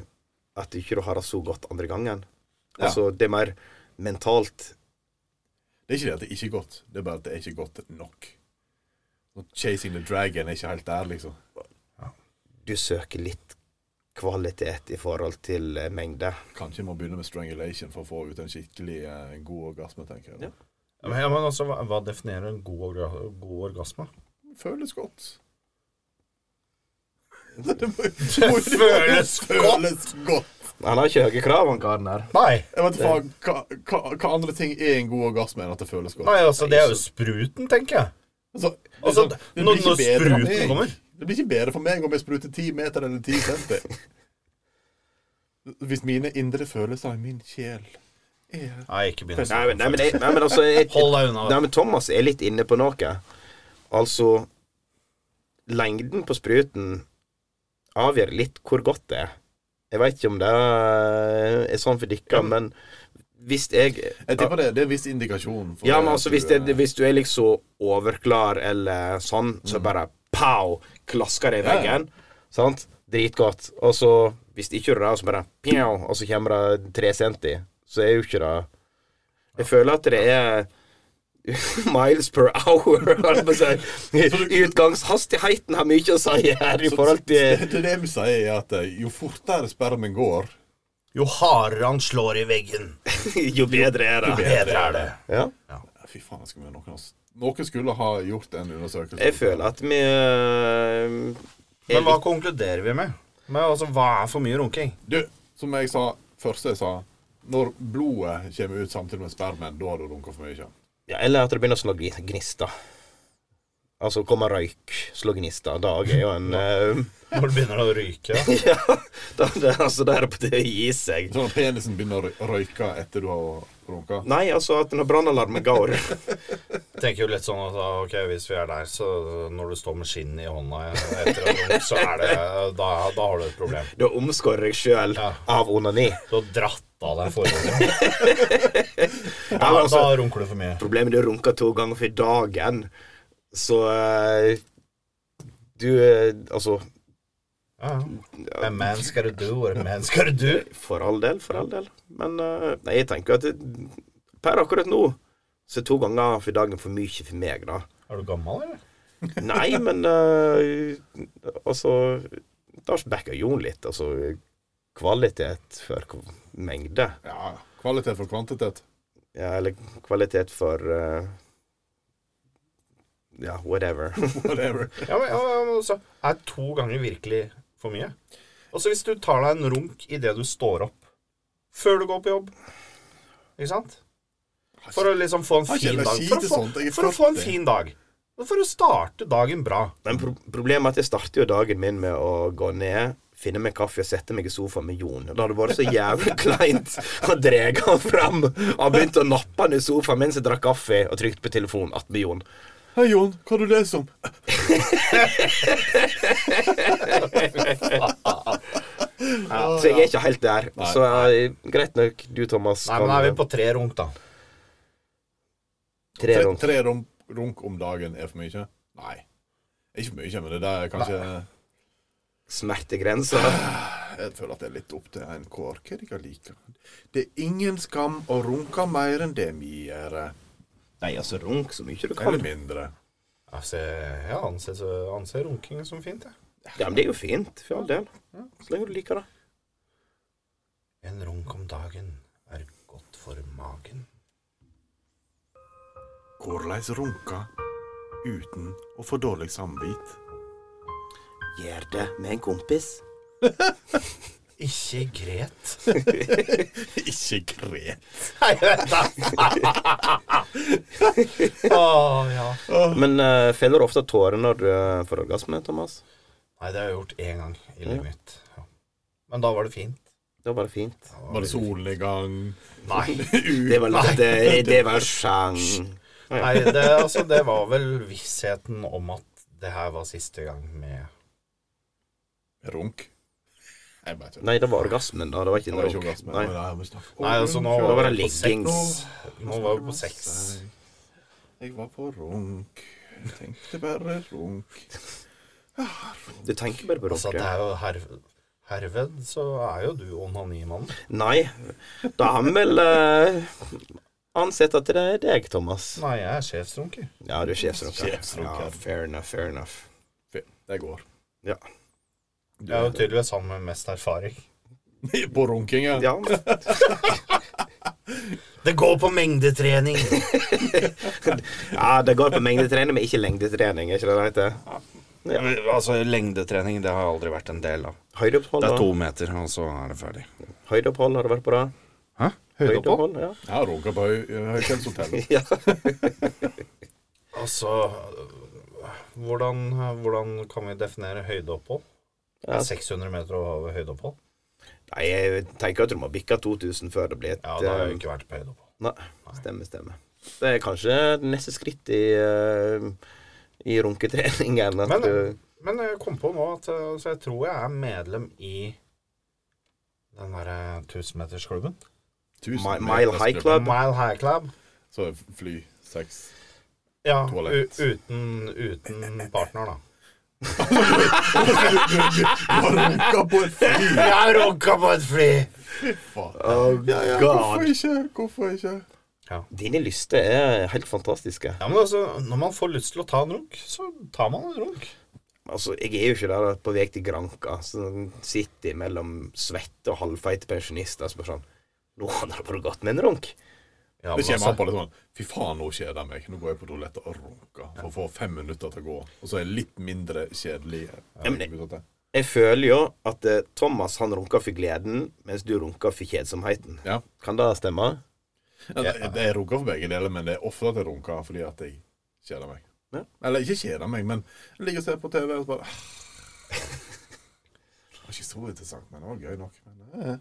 At du ikke har det så godt andre gangen. Ja. Altså det er mer mentalt. Det er ikke det at det ikke er godt, det er bare at det er ikke godt nok. Og Chasing the dragon er ikke helt der, liksom. Du søker litt kvalitet i forhold til eh, mengde. Kanskje man begynner med strangulation for å få ut en skikkelig eh, god orgasme, tenker jeg. Ja. Ja, men, ja, men altså, hva, hva definerer en god, orga god orgasme? Føles godt. *laughs* Det må- føles føles godt. Han har ikke høye krav, han karen her. Nei, Jeg vet ikke hva, hva, hva andre ting er en god orgasme enn at det føles godt. Nei altså, det er jo spruten, tenker jeg. Altså, Altså, det- det blir når, ikke når bedre for spruten meg. kommer Det blir ikke bedre for meg om jeg spruter 10 meter eller 10 center. Hvis mine indre følelser i min sjel er Nei, ikke begynn. Nei, men, nei, men, jeg, nei, men altså *laughs* jeg, Hold deg unna. Nei, men Thomas er litt inne på noe. Altså Lengden på spruten avgjør litt hvor godt det er. Jeg veit ikke om det er sånn for dere, men hvis jeg Jeg tipper det, det er en viss indikasjon. for Ja, men at altså, du hvis, det, er- hvis du er liksom overklar eller sånn, så bare pow, klasker det i Mm. Ja, ja. veggen. Sant? Dritgodt. Og så, hvis det ikke gjør det, så bare pjau, og så kommer det tre centi. Så er jo ikke det Jeg føler at det er *laughs* miles per hour, holdt jeg på å *laughs* si. Utgangshastigheten har mye å si her i Så- forhold til så eh, *laughs* Det det de sier, er at eh, jo fortere spermen går, Jo hardere han slår i veggen, Jo bedre er jo det. bedre er det. Ja. Fy faen, jeg skulle noen, av oss- noen skulle ha gjort en undersøkelse. Jeg føler at vi øh, er Men hva litt- konkluderer vi med? Men altså, Hva er for mye runking? Du, som jeg sa første jeg sa Når blodet kommer ut samtidig med spermen, da har du runka for mye. Ja, eller at det begynner å slå gni- gnister. Altså komme røyk, slå gnister. Dag er jo en eh, Når det begynner å ryke? da? *laughs* Ja, da, det, altså, da er det på tide å gi seg. Sånn at penisen begynner å røy- røyke etter du har runka. Nei, altså at når brannalarmen går *laughs* Jeg tenker jo litt sånn at ah, ok, hvis vi er der, så når du står med skinn i hånda etter en runk, så er det Da, da har du et problem. Da omskårer jeg sjøl Ja. av onani. Du har dratt av deg forhånden. Ja, Da, men altså, da runker du for mye. problemet er at du runker to ganger for dagen, så eh, Du eh, Altså, Ja, ja. A man's gotta do what a man's gotta do. for all del, for all del. Men eh, nei, jeg tenker at det, per akkurat nå så er to ganger for dagen for mye for meg, da. Er du gammel, eller? Nei, men eh, Altså Da backer Jon litt. Altså kvalitet for kv- mengde. Ja, kvalitet for kvantitet. *laughs* Ja, eller kvalitet for eh, Ja, whatever. *laughs* Whatever. Ja, men, ja, ja, men altså, er to ganger virkelig for mye? Og så hvis du tar deg en runk idet du står opp, før du går på jobb Ikke sant? For å liksom få en Har ikke fin dag. energi For å til få, sånt, jeg er for å få en 40. fin dag. Og For å starte dagen bra. Men pro problemet er at jeg starter jo dagen min med å gå ned, finne meg kaffe og sette meg i sofaen med Jon. Det hadde vært så jævlig kleint å drege han fram. Han begynte å nappe han i sofaen mens jeg drakk kaffe og trykte på telefonen attmed Jon. Hei, Jon. Hva har du lest om? Så jeg er ikke helt der. Så eh, greit nok, du Thomas. Nei, men kan- eh, da er vi på tre runk, da. Tre Tre, runk. tre rom, runk om dagen er for mye? Nei. Ikke for mye, men det der er kanskje smertegrensa. jeg føler at det er litt opp til en hver hva de kan like. Det er ingen skam å runke mer enn det vi gjør. Nei, altså, runk så mye du kan. Eller mindre. Altså, jeg anser, anser runking som fint, jeg. Ja, men det er jo fint, for all del. Så lenge du liker det. En runk om dagen er godt for magen. Hvordan runke uten å få dårlig samvitt? Gjør det med en kompis. Ikke *laughs* gret. Ikke gret. Nei, vet du. Å, ja. Men eh, feller du ofte tårer når du eh, får orgasme, Thomas? Nei, det har jeg gjort én gang i livet mitt. Ja. Men da var det fint. Det var bare fint. Da var Var det det solen i gang? fint. Nei. Det var, det, det var sjang. Nei, det, altså, det var vel vissheten om at det her var siste gang med Runk? Jeg bare tuller. Nei, det var orgasmen, da. Det var Det ikke en var ikke runk. orgasme. Nei. men det er vi snakker om Nei, altså, nå runk. Da var var det vi på seks. leggings. Nå var vi på seks. Jeg var på runk. Jeg tenkte bare runk. Du tenker bare på Altså, det runke. er jo her, herved så er jo du onanimannen. Nei, da har vi vel eh, ansett at det er deg, Thomas. Nei, jeg er sjefsrunker. Ja, du er sjefsrunker. Sjefsrunker. Ja, fair enough, fair enough. Fint, Det går. Ja. Jeg er jo tydeligvis han med mest erfaring. På runking, ja. ja. Det går på mengdetrening! *laughs* Ja, det går på mengdetrening, men ikke lengdetrening. Er ikke det det heter? altså, lengdetrening, det har jeg aldri vært en del av. Høydeopphold, da? meter, og så er det ferdig. Høydeopphold, har du vært på det? Hæ? Høydeopphold? Ja. *laughs* Jeg har runka på høy- høykjellshotellet. ja. Altså hvordan, hvordan kan vi definere høydeopphold? Ja. 600 meter over høydeopphold? Nei, jeg tenker at du må bikke 2000 før det blir et Ja, da har jeg eh, jo ikke vært på høydeopphold. Nei, stemmer, stemmer. Det er kanskje det neste skritt i, eh, i runketreningen. At Men- du, Men jeg kom på nå at eh, altså, jeg tror jeg er medlem i den derre 1000-metersklubben. Tusen *laughs* Mi- Mile High meters Club. Mile High Club. Så er fly seks. Ja, u Toalett. uten, uten partner, da. Runka på et fly! *laughs* Jeg runka på et fly! *laughs* oh, Ja, ja, hvorfor ikke? Hvorfor ikke? Dine lyster er helt fantastiske. Ja, men altså, Når man får lyst til å ta en runk, så tar man en runk. Altså, Jeg er jo ikke der på vei til Granka. Så sitter jeg mellom svette og halvfeite pensjonister og spør sånn Nå hadde det bare gått med en runk. Ja, Det men kommer altså, an på litt sånn Fy faen, nå kjeder jeg meg. Nå går jeg på toalettet og runker og får fem minutter til å gå. Og så er jeg litt mindre kjedelig. Ja, men det- det... Jeg føler jo at eh, Thomas han runker for gleden, mens du runker for kjedsomheten. Ja. Kan det stemme? Ja, det, det er runker for begge deler, men det er ofte at jeg runker fordi at jeg kjeder meg. Ja. Eller ikke kjeder meg, men jeg ligger og ser på TV og så bare Det var ikke så interessant, men det var gøy nok. Men,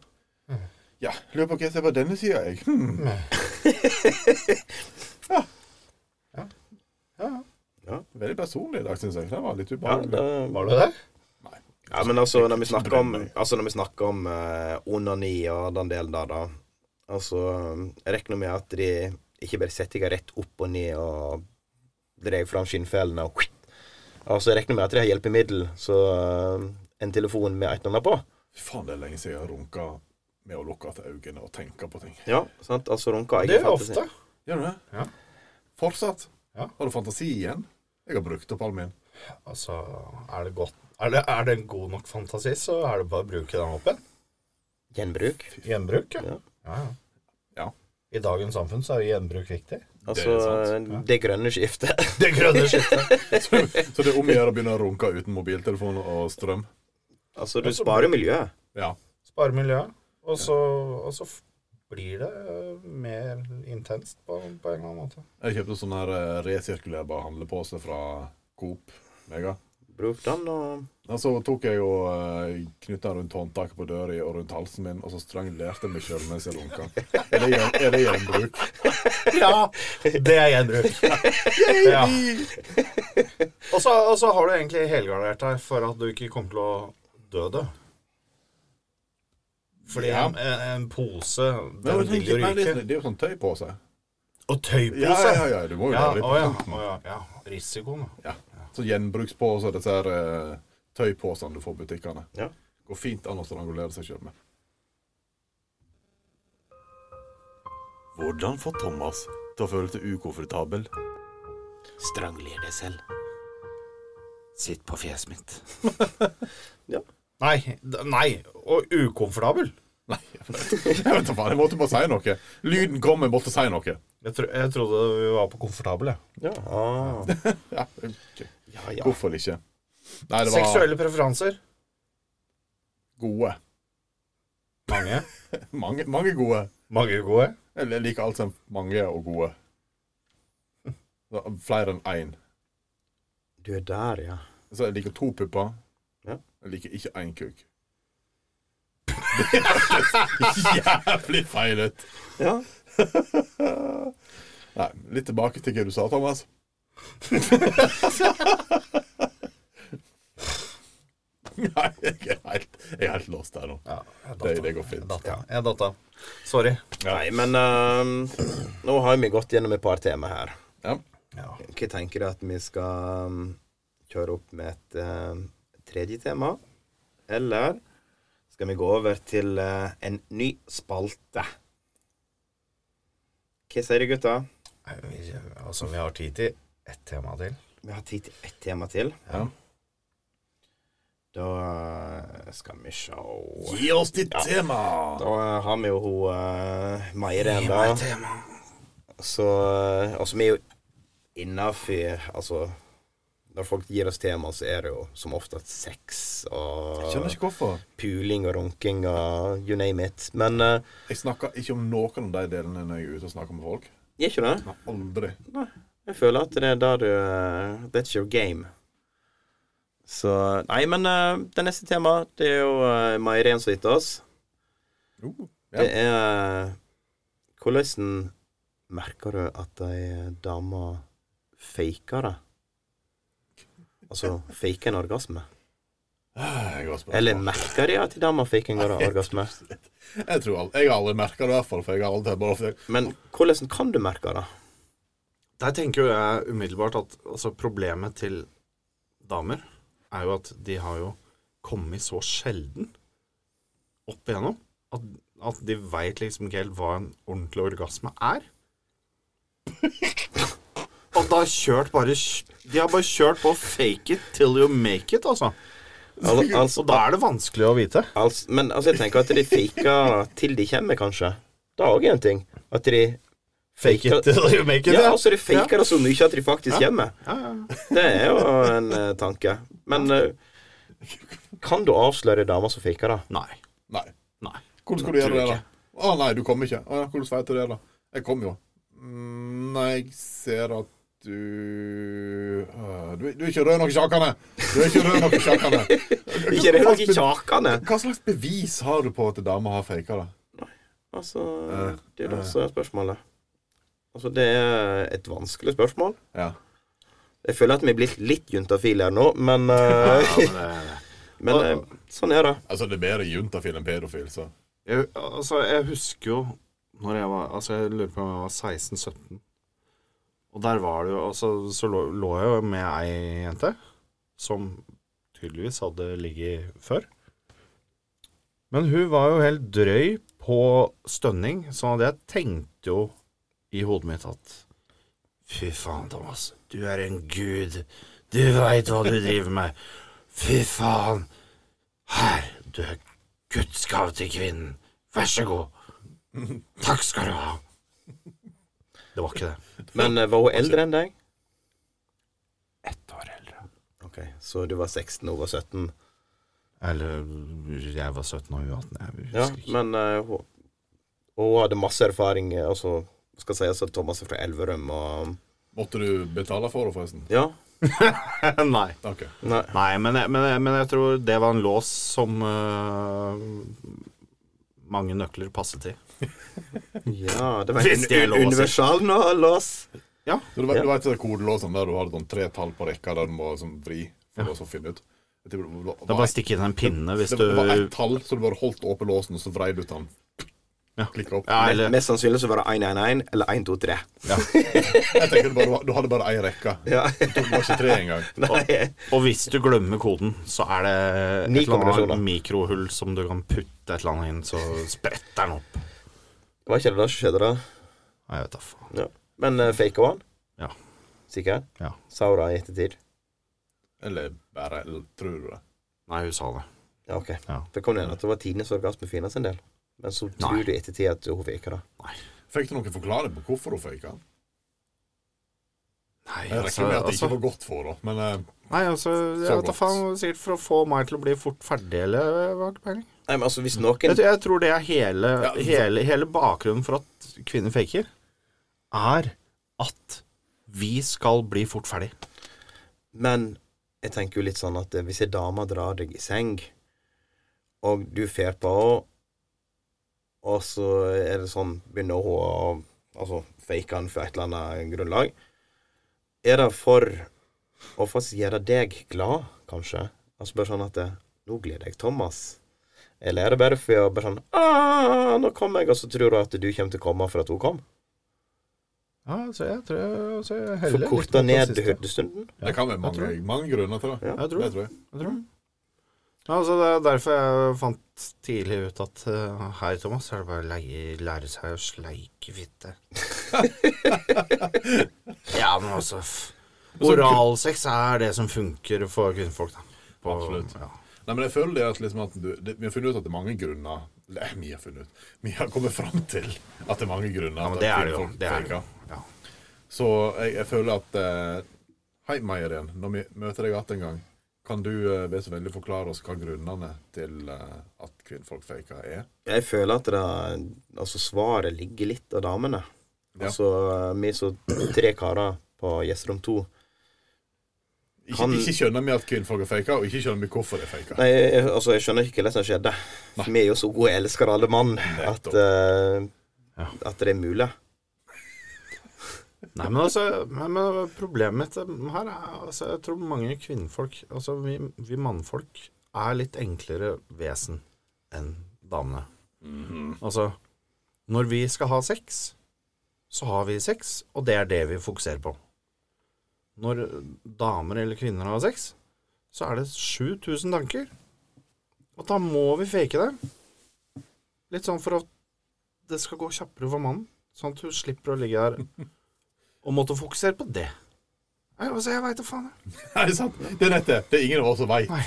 eh. Ja. Lurer på hva jeg ser på denne sida, jeg. Hmm. ja. Ja. Ja. Ja. Veldig personlig i dag, syns jeg. Det var litt Ja, ubehagelig. det, Var du det? Ja, men altså, når vi snakker om, altså, når vi snakker om eh, onani og den delen der, da Altså, jeg regner med at de ikke bare setter deg rett opp og ned og dreier fram skinnfellene og Altså, jeg regner med at de har hjelpemiddel, så eh, en telefon med et nummer på. Fy faen, det er lenge siden jeg har runka med å lukke til øynene og tenke på ting. Ja, sant? Altså runka Det gjør jeg ofte. Gjør du det? Ja. Fortsatt? Ja. Har du fantasi igjen? Jeg har brukt opp all min. Altså, er det godt er det, er det en god nok fantasi, så er det bare å bruke den opp igjen. Gjenbruk. Gjenbruk, ja. Ja. Ja, ja. Ja. I dagens samfunn så er jo gjenbruk viktig. Altså det, sant, grønne skiftet. Det grønne skiftet. Så, så det er om å gjøre å begynne å runke uten mobiltelefon og strøm. *laughs* altså, du sparer miljøet. Ja. Spare miljøet. Og så, og så f- blir det eh, mer intenst på, på en eller annen måte. Jeg kjøpte sånn her eh, resirkulerbar handlepose fra Coop Mega. Bruk den og Og så tok jeg og eh, knytta rundt håndtaket på døra og rundt halsen min, og så strangulerte jeg meg sjøl mens jeg runka. Er det, gjen- er det gjenbruk? Ja, det er gjenbruk. Ja. Og så, og så har du egentlig helgardert deg for at du ikke kommer til å dø det. Fordi Ja. en, en, en pose, Men den jeg vil jo tenker, nei, det, er ryke. sånn- det er jo sånn tøypose. Og Ja, tøypose! ja, ja, du må jo Ja, være litt å ja. Å ja, ja. Risikoen, da. Sånn Ja. Så gjenbrukspåser, disse her eh, tøypåsene du får i butikkene. Ja. går fint an å strangulere seg sjøl med. Hvordan få Thomas til å føle seg ukomfortabel? Strangler deg selv. Sitt på fjeset mitt. Nei. d- Nei. Og ukomfortabel. Nei, jeg vet *laughs* jeg vet da faen. Jeg måtte bare si noe. Lyden kom, jeg måtte si noe. Jeg, tro, jeg trodde vi var på komfortabel, jeg. Ah. Ja, ok. Ja, ja. Hvorfor ikke? Nei, det var Seksuelle preferanser. gode. Mange. Mange, mange gode. Mange gode. Jeg liker alt som mange og gode. Da, Flere enn én. Du er der, ja. Så jeg liker to pupper. Ja. Jeg liker ikke én kuk. Det høres jævlig feil ut. ja. Nei, litt tilbake til hva du sa, Thomas. Nei, jeg er helt, jeg er helt låst her nå. Ja, jeg Det, det går fint. datta. Jeg datta. Sorry. Nei, men ehm, nå har vi gått gjennom et par tema her. Ja. Ja. Hva tenker du at vi skal ehm, kjøre opp med et ehm, tredje tema? Eller skal vi gå over til eh, en ny spalte? Hva sier du, gutta? Nei, vi, altså, vi har tid til ett tema til. Vi har tid til ett tema til. Ja. Da eh, skal vi sjå Gi oss ditt tema! Da eh, har vi jo hun uh, Meiren, da. Så, eh, altså, vi er jo innafor Altså, når folk gir oss tema, så er det jo som oftest sex Jeg skjønner og ikke hvorfor. puling og runking og you name it. Men eh, Jeg snakker ikke om noen av de delene når jeg er ute og snakker med folk. gjør ikke det? Nei, aldri. Jeg føler at det er der du eh, That's your game. Så Nei, men eh, det neste temaet, det er jo uh, Meiren som har gitt oss. Uh, ja. Det er eh, Hvordan merker du at ei dame faker det? Altså faker en orgasme? Ah, godt spørsmål. Eller merker de at ei dame faker en orgasme? Jeg tror aldri, jeg har aldri merka det, i hvert fall. For jeg har aldri bare Men hvordan kan du merke det? Der tenker jo jeg umiddelbart at altså, problemet til damer er jo at de har jo kommet så sjelden opp igjennom at, at de veit liksom ikke helt hva en ordentlig orgasme er. Og da kjørt bare De har bare kjørt på fake it till you make it, altså. Al *laughs* altså, Så da er det vanskelig å vite. altså, men altså, jeg tenker at de faker til de kommer, kanskje. Det er òg en ting. At de Fake it till you make it. Ja, altså de faker det så mye at de faktisk kommer. Ja, ja. Det er jo en eh, tanke. Men eh, kan du avsløre ei dame som faker det? Nei. Nei. Nei. Hvordan skal du gjøre Tror det, ikke. da? Å nei, du kommer ikke. Å, ja, hvordan vet du det, da? Jeg kommer jo. Mm, nei, jeg ser at du øh, du, er- du er ikke rød nok i sjakene! Du er ikke rød nok i sjakene! Ikke det Hva er slags ikke be- kjakene. Hva slags bevis har du på at dama har faka det? Altså, Eh, det er jo eh. det som er spørsmålet. Altså, det er et vanskelig spørsmål. Ja. Jeg føler at vi er blitt litt juntafile her nå, men, eh, *laughs* Ja, men det, men eh, sånn er det. Altså, det er bedre juntafil enn pedofil, så Jeg, altså, jeg husker jo når jeg var Altså, jeg lurer på om jeg var 16-17. Og der var det jo altså, Så lå, lå jeg jo med ei jente som tydeligvis hadde ligget før. Men hun var jo helt drøy på stønning, sånn at jeg tenkte jo i hodet mitt at Fy faen, Thomas. Du er en gud. Du veit hva du driver med. Fy faen. Her. Du er Guds gave til kvinnen. Vær så god. Takk skal du ha. Det var ikke det. Men eh, var hun eldre enn deg? Ett år eldre. Ok, Så du var 16 og hun var 17? Eller jeg var 17 og hun 18. Jeg husker Ja, ikke. men eh, hun, hun hadde masse erfaring. eh, Altså, skal sies at Thomas er fra Elverum, og Måtte du betale for det, forresten? Ja. *laughs* Nei. OK. Nei. Nei, men, jeg- men, jeg- men jeg tror det var en lås som øh, mange nøkler passet til. Ja, det var Hvis det er en lov å si. universal nå, lås. Så du, vet- Ja. du vet det kodelåsen der du har sånn tre tall på rekka der du må sånn vri for å så finne ut? Jeg tipper Det var, Det er bare å stikke inn en pinne hvis det du var ett tall, så du bare holdt åpen låsen, og så vrei du ut den. Ja, klikker opp. Ja, eller Mest sannsynlig så var det 111 eller 123. Jeg tenker du, bare, du hadde bare én rekke. Ja. Du tok bare ikke tre engang. *laughs* Nei. Og hvis du glemmer koden, så er det Ni et eller kombinasjoner. annet mikrohull som du kan putte et eller annet inn, så spretter den opp. Det var ikke det som skjedde, da. Nei, Jeg vet da faen. Ja. Men uh, faka han? Ja. Sikker? Ja. Sa hun det i ettertid? Eller bare eller, tror du det. Nei, hun sa det. Ja, ok. Ja. For det kom det igjen at det var tidenes orgasme for Fina sin del. Men så tror Nei. du i ettertid at hun faka det. Fikk du noen forklaring på hvorfor hun faka? Nei, Jeg regner altså, med at det altså, ikke var godt for henne, men eh, nei, altså Så jeg vet da godt. faen. Sikkert for å få meg til å bli fort ferdig, eller eh, hva har ikke peiling. Nei, men altså, hvis Jeg, noen tror- jeg tror det er hele, Ja, for- hele, hele bakgrunnen for at kvinner faker, er at vi skal bli fort ferdig. Men jeg tenker jo litt sånn at eh, hvis ei dame drar deg i seng, og du fer på henne, og så er det sånn begynner hun å altså, fake han for et eller annet grunnlag Er det for å faktisk gjøre deg glad, kanskje? Altså bare sånn at eh, Nå gleder jeg Thomas. Eller er det bare for å bare sånn «Ah, Nå kom jeg, og så tror du at du kommer til å komme for at hun kom? Ja, så jeg tror jeg, så jeg heller litt mot Forkorta den ned siste. hurdestunden? det kan være jeg tror mange, mange grunner til det. Ja. Jeg tror Det tror jeg. Jeg tror det. Ja, altså Det er derfor jeg fant tidlig ut at uh, her, Thomas, er det bare å leie, lære seg å sleike fitte. ja, men altså f- Oralsex er det som funker for kvinnfolk, da. På- Absolutt. Ja. Nei, men jeg føler det at, liksom at du, det, Vi har funnet ut at det er mange grunner Nei, *laughs* vi har funnet ut Vi har kommet fram til at det er mange grunner. ja, men til det at er det jo. folk Det er det. faker. jo. Ja. Så jeg, jeg føler at eh, Hei, Meierien. Når vi møter deg igjen en gang, kan du eh, være så veldig forklare oss hva grunnene til eh, at kvinnfolk faker, er? Jeg føler at det, altså svaret ligger litt av damene. Ja. Altså, vi som tre karer på gjesterom to Ikke, Kan- ikke skjønner vi at kvinnfolk er faker, og ikke skjønner vi hvorfor de er faker. Nei, jeg, altså, jeg skjønner ikke hva som skjedde. Vi er jo så gode elskere, alle mann, at, eh, Ja. at det er mulig. Nei, men altså nei, men Problemet mitt eh, her er altså, Jeg tror mange kvinnfolk Altså, vi, vi mannfolk er litt enklere vesen enn damene. Altså Når vi skal ha sex, så har vi sex, og det er det vi fokuserer på. Når damer eller kvinner har sex, så er det 7000 tanker. Og da må vi fake det. Litt sånn for at det skal gå kjappere for mannen. Sånn at hun slipper å ligge der og måtte fokusere på det. Nei, altså, jeg veit da faen. jeg. Nei, det *laughs* er sant. Det er nettet. Det er ingen av oss som veit. Nei.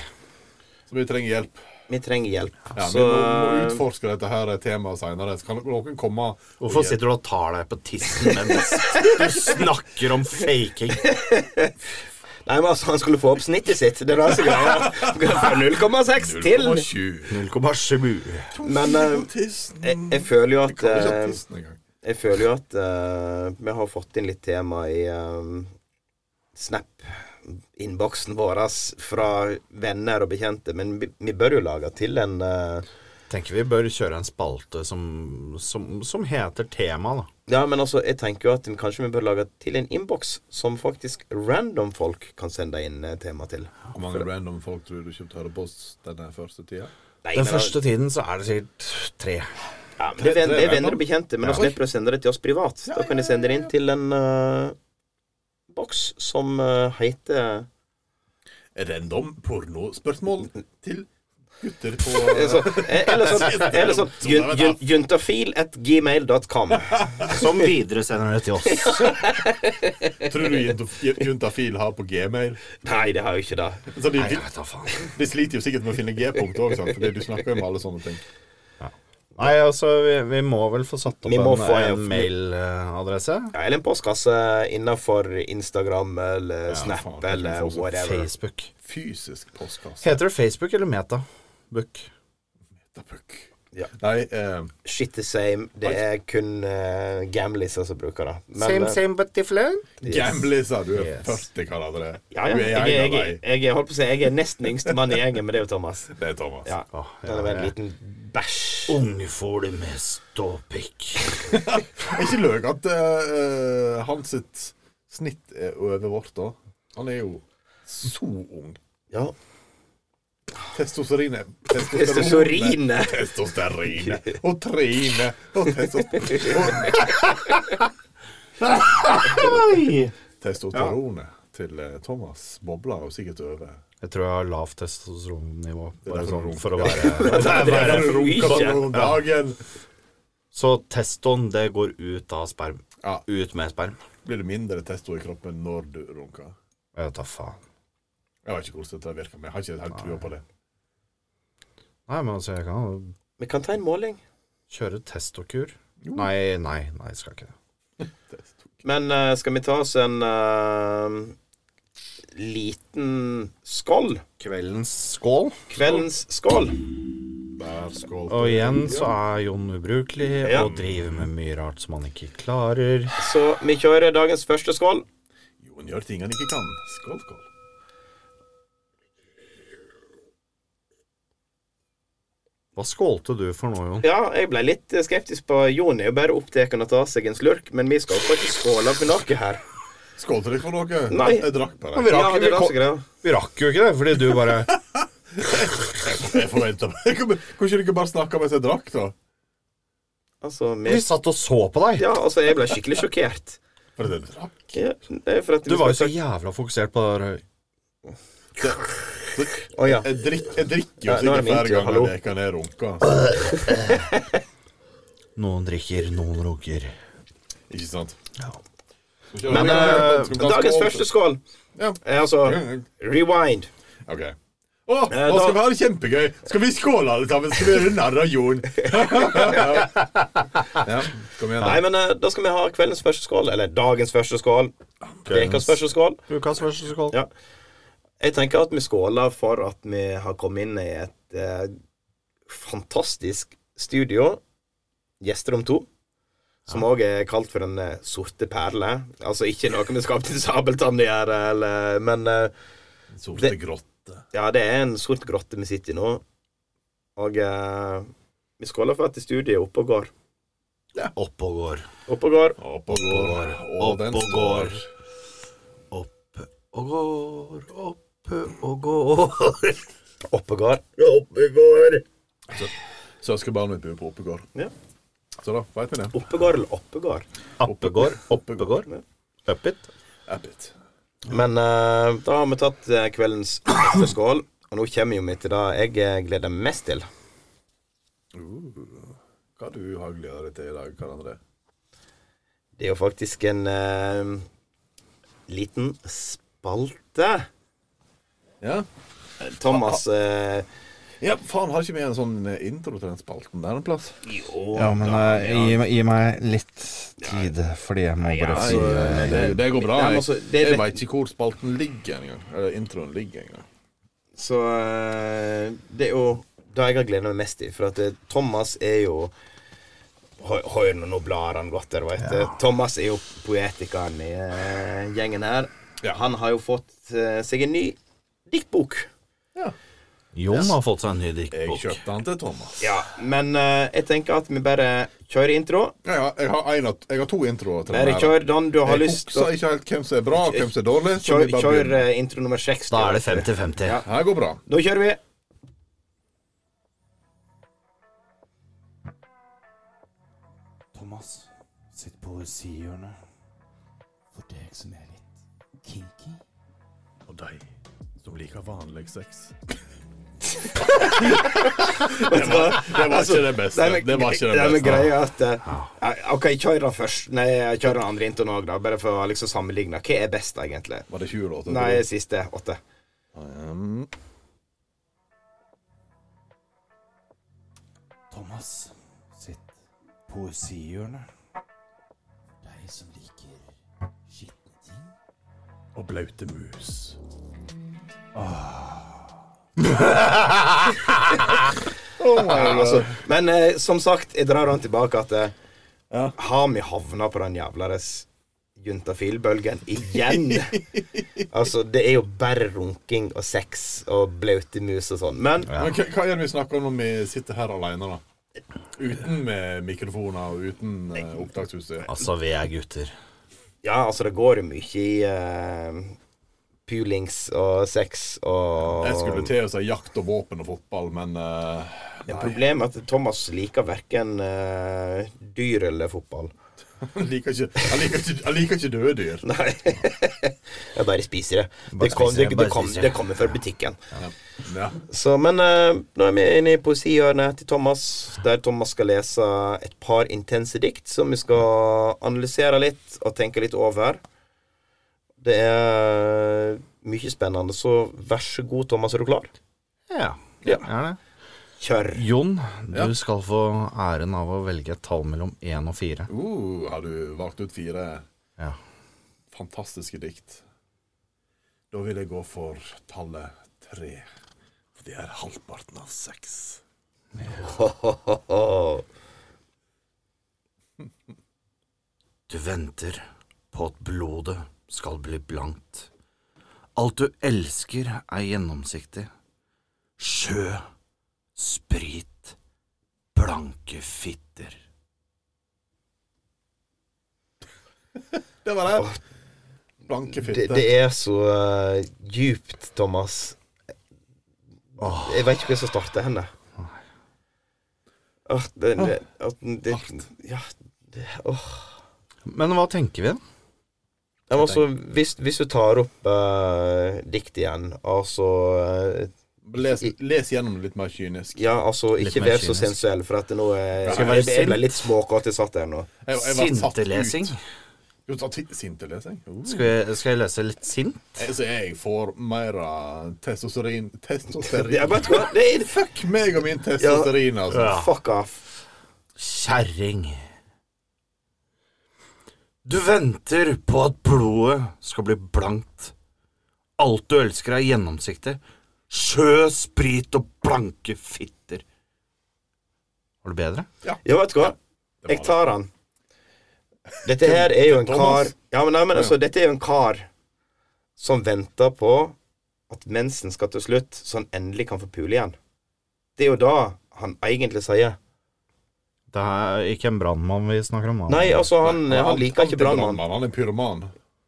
Så vi trenger hjelp. Vi trenger hjelp. Ja, så Vi må, må utforske dette her temaet seinere. Kan noen komme og Hvorfor hjelpe? sitter du og tar deg på tissen mens du snakker om faking? Nei, men altså, han skulle få opp snittet sitt. Det er *laughs* det som er greia. Fra 0,6 til 0,7. 0,7. Men eh, jeg, jeg føler jo at eh, Jeg føler jo at eh, vi har fått inn litt tema i eh, Snap-innboksen vår fra venner og bekjente, men vi, vi bør jo lage til en eh, Tenker vi bør kjøre en spalte som, som, som heter tema, da. Ja, men altså, jeg tenker jo at vi- kanskje vi bør lage til en innboks som faktisk random folk kan sende inn eh, tema til. Hvor mange random folk tror du kommer til å høre på oss denne første tida? Nei, Den men, første tiden så er det sikkert tre. ja, men det, er ven- det er venner og bekjente, men Ja. da slipper du å sende det til oss privat. Da kan de sende det inn til en eh, boks som eh, heter Random pornospørsmål til gutter *laughs* på Så, eh, Eller sånn, eller sånn jun, jun, juntafil at gmail.com. Som videresender det til oss. Tror du jent- Juntafil har på gmail? Nei, det har jeg ikke det. Så de, Nei, jeg vet da faen. de sliter jo sikkert med å finne G-punkt òg, fordi du snakker jo om alle sånne ting. Nei, altså, vi, vi må vel få satt opp Vi en, må få en- en mailadresse. Ja, Eller en postkasse innenfor Instagram eller Snap faen, kanskje vi eller får sånn whatever. Facebook. Fysisk postkasse. Heter det Facebook eller Meta? Book. Metapuck. Ja. Nei, eh, Shit the same. Det er kun uh, gamliser som bruker det. Men, eh, same, but different. yes. Gamble, sa du. Yes. 40 kaller det. Ja, ja. Du Jeg, er jeg, en av jeg, dem. jeg, holdt på å si jeg er nesten yngste mann i gjengen, men det er jo Thomas. Det er Thomas. Ja. Åh, Det er en liten bæsj. Unge får det med ståpikk. Er ikke løk at eh, eh, hans sitt snitt er over vårt, da? Han er jo så ung. Ja. Testosterine. *laughs* Testosterine. Testosterine. Og trine. Og testosterone. Testosterone til eh, Thomas bobler jo sikkert over. Jeg tror jeg har lavt testosteronnivå. er Bare derfor sånn du for å *laughs* være Det er derfor du Runker ikke- om dagen. Så testoen, det går ut av sperm. Ja. Ut med sperm. Blir det mindre testo i kroppen når du runker? Jeg vet da faen. Jeg vet ikke hvordan dette virker, men jeg har ikke helt trua på det. Nei, men altså, jeg kan jo Vi kan ta en måling. kjøre testokur. Nei, nei, nei, jeg skal ikke det. Testo. Men eh, skal vi ta oss en eh, liten skål? Kveldens skål. Kveldens skål. Der, skål. Og igjen så er Jon ubrukelig Ja. og driver med mye rart som han ikke klarer. Så vi kjører dagens første skål. Jon gjør ting han ikke kan. Skål, skål. Hva skålte du for nå, Jon? Ja, jeg ble litt skeptisk på Jon. er jo bare opptatt av å ta seg en slurk, men vi skal jo ikke skåle for noe her. Skål til deg for noe. Nei. Jeg drakk bare. Vi rakk, Ja, det er vi det kom- som er greia. vi rakk jo ikke det, fordi du *laughs* bare Jeg forventa meg Kan ikke dere bare snakke mens jeg drakk, da? Altså, vi, Vi satt og så på deg. ja, altså, jeg ble skikkelig sjokkert. For det drakk. Ja, det er for at Du var jo så skal- jævla fokusert på det der. Å ja. Jeg, drikk, jeg drikker jo Ja, nå er det sikkert min flere tur, ganger hallo. enn jeg kan jeg altså. runke. Noen drikker, noen runker. Ikke sant? Ja. Men eh, dagens første skål Ja. er altså rewind. OK. Å, Eh, nå skal vi ha det kjempegøy! Skal vi skåle alle sammen? Skal vi gjøre narr av *laughs* Jon? ja, kom igjen. Nei, da. men eh, da skal vi ha kveldens første skål. Eller dagens første skål. Ukas første skål. Ukas første skål. Ja. Jeg tenker at vi skåler for at vi har kommet inn i et eh, fantastisk studio, Gjesterom 2, som òg er kalt for Den eh, sorte perle. Altså ikke noe vi skapte Sabeltann å gjøre, eller, men eh, Sorte det- grotte. ja, det er en sort grotte vi sitter i nå. Og eh, vi skåler for at studiet er oppe og går. Opp og går. Oppe og går. Opp og går, og den Opp og går. står. Opp og går, opp og *laughs* går. Oppe og går. Søskenbarnet mitt bor på Oppegård. Ja. Så da veit vi det. Oppe og går eller oppe og går. Oppegård, oppegård. Up it. App it. Men eh, da har vi tatt eh, kveldens neste skål, og nå kommer jo vi til det jeg eh, gleder meg mest til. Hva du har gleda deg til i dag, Karl André? Det er jo faktisk en eh, liten spalte. Ja? Thomas eh, ja, faen, har ikke vi en sånn eh, intro til den spalten der en plass? Ja, men eh, gi, meg- gi meg litt tid, fordi jeg må bare si Nei, eh, det, det går bra. Nei, men Jeg, altså, det er jeg lett- veit ikke hvor spalten ligger engang. Eller introen ligger engang. Så eh, det er jo det jeg har gleda meg mest til. For at eh, Thomas er jo Hø- Høyr nå, nå blar han godt der, veit du. Thomas er jo poetikeren i eh, gjengen her. Ja. Han har jo fått eh, seg en ny diktbok. Jon har fått seg en ny Jeg diktbok. kjøpte den til Thomas. Ja, men eh, jeg tenker at vi bare kjører intro. Ja, ja, jeg, har en, at- jeg har to introer til Bare den. her. kjør den du har Jeg lyst til. husker ikke helt hvem som er bra, og hvem som er dårlig. så Kjør, vi bare kjør begynner. eh, intro nummer seks. Da er det vet du. 50-50. Ja. Det her går bra. Da kjører vi. Thomas sitt poesihjørne. For deg som er litt kinky. Og de som liker vanlig sex. det, var, det var ikke det beste. men- Det var ikke Nei, det men beste. greia er at eh, ja, OK, kjør den først. Nei, jeg kjører den andre introen òg, da. Bare for å liksom sammenligne. Hva er best, egentlig? Var det 20 låter? Nei, siste åtte. Um, Thomas sitt poesihjørne. For deg som liker skitne ting. og blaute mus. *laughs* Altså, men eh, som sagt, jeg drar den tilbake at eh, Har vi havna på den jævlares juntafilbølgen igjen? altså, det er jo bare runking og sex og blaute mus og sånn. Men Men hva, hva er det vi snakker om når vi sitter her alene, da? Uten med mikrofoner og uten eh, opptaksutstyr. Altså, vi er gutter. Ja, altså det går jo mye i eh, pulings og sex og Jeg skulle til å si jakt og våpen og fotball, men eh, *laughs* Men nei. Problemet er at Thomas liker verken eh, dyr eller fotball. *laughs* Han liker ikke, han liker ikke, han liker ikke døde dyr. Nei. Jeg bare spiser det. Bare Det, kom, spiser det, det, det, bare kom, spiser det. det kommer fra butikken. Ja. Så, men eh, nå er vi inne i poesihjørnet til Thomas, der Thomas skal lese et par intense dikt som vi skal analysere litt og tenke litt over. Det er mye spennende, så vær så god, Thomas. Er du klar? Ja. Ja. Er det? Kjør. Jon, du Ja. skal få æren av å velge et tall mellom én og fire. Uh, har du valgt ut fire Ja. fantastiske dikt? Da vil jeg gå for tallet tre. For det er halvparten av seks. Du venter på at blodet skal bli blankt. Alt du elsker er gjennomsiktig. Sjø, sprit, blanke fitter. Det var det. Blanke Det, fitte. det er så eh, djupt, Thomas. Jeg vet ikke hvor jeg skal starte henne. Åh, det, det, at den- det, ja, det, åh. Men hva tenker vi? Ja, men altså, hvis, hvis du tar opp eh, dikt igjen, altså eh, Les, les gjennom det litt mer kynisk. Ja, altså, Litt ikke mer vær så kynisk. sensuell, for at nå er, Ja, jeg, skal jeg, være ble litt småkåt jeg satt der nå. Jeg, jeg var satt Sintelesing. ut. Jo, satt i- Sintelesing? Uh. Skal jeg, skal jeg lese litt sint? Altså, jeg får mer av testosterin Testosterin. Jeg vet hva, *laughs* det er Fuck meg og min testosterin, altså. Fuck off. Kjerring. Du venter på at blodet skal bli blankt. Alt du elsker er gjennomsiktig. Sjø, sprit og blanke fitter. Var det bedre? Ja, vet du hva? Det Jeg var det. tar han. Dette her er jo en kar Thomas. Ja, men, nei, men altså, dette er jo en kar som venter på at mensen skal til slutt, så han endelig kan få pule igjen. Det er jo da han egentlig sier Det er ikke en brannmann vi snakker om. Nei, altså, han, Nei, han liker ikke er brannmann. Han er pyroman.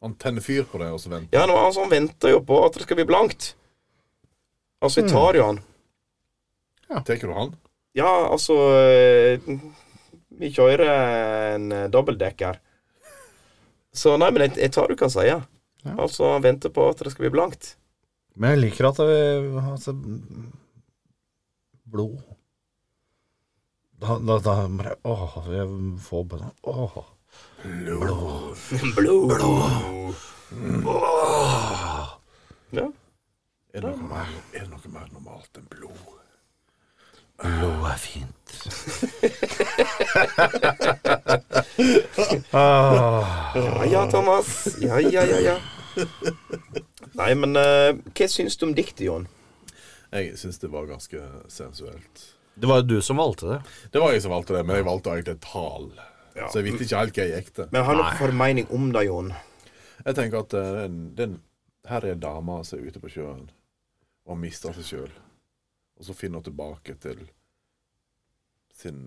Han tenner fyr på det, og så venter Ja, nå, altså, han venter jo på at det skal bli blankt. Altså, jeg tar jo han. Tar du han? Ja, altså eh, Vi kjører en eh, dobbeltdekker. Så nei, men jeg, jeg tar det du kan si. Ja. Altså, han venter på at det skal bli blankt. Men jeg liker at det altså, Blod. Da, da, da bare Åh, jeg får bare Åh. Blod. Ja. Er det noe mer, er det noe mer normalt enn blod? Blod er fint. ja, ja, Thomas. Ja, ja, ja, ja. Nei, men eh, hva syns du om diktet, Jon? Jeg syns det var ganske sensuelt. Det var jo du som valgte det. Det var jeg som valgte det, men jeg valgte egentlig et tall. Så jeg visste ikke helt hva jeg gikk til. Men har du noen formening om det, Jon? Jeg tenker at eh, den, den, her er dama som er ute på sjøen og har mista seg sjøl. Og så finner hun tilbake til sin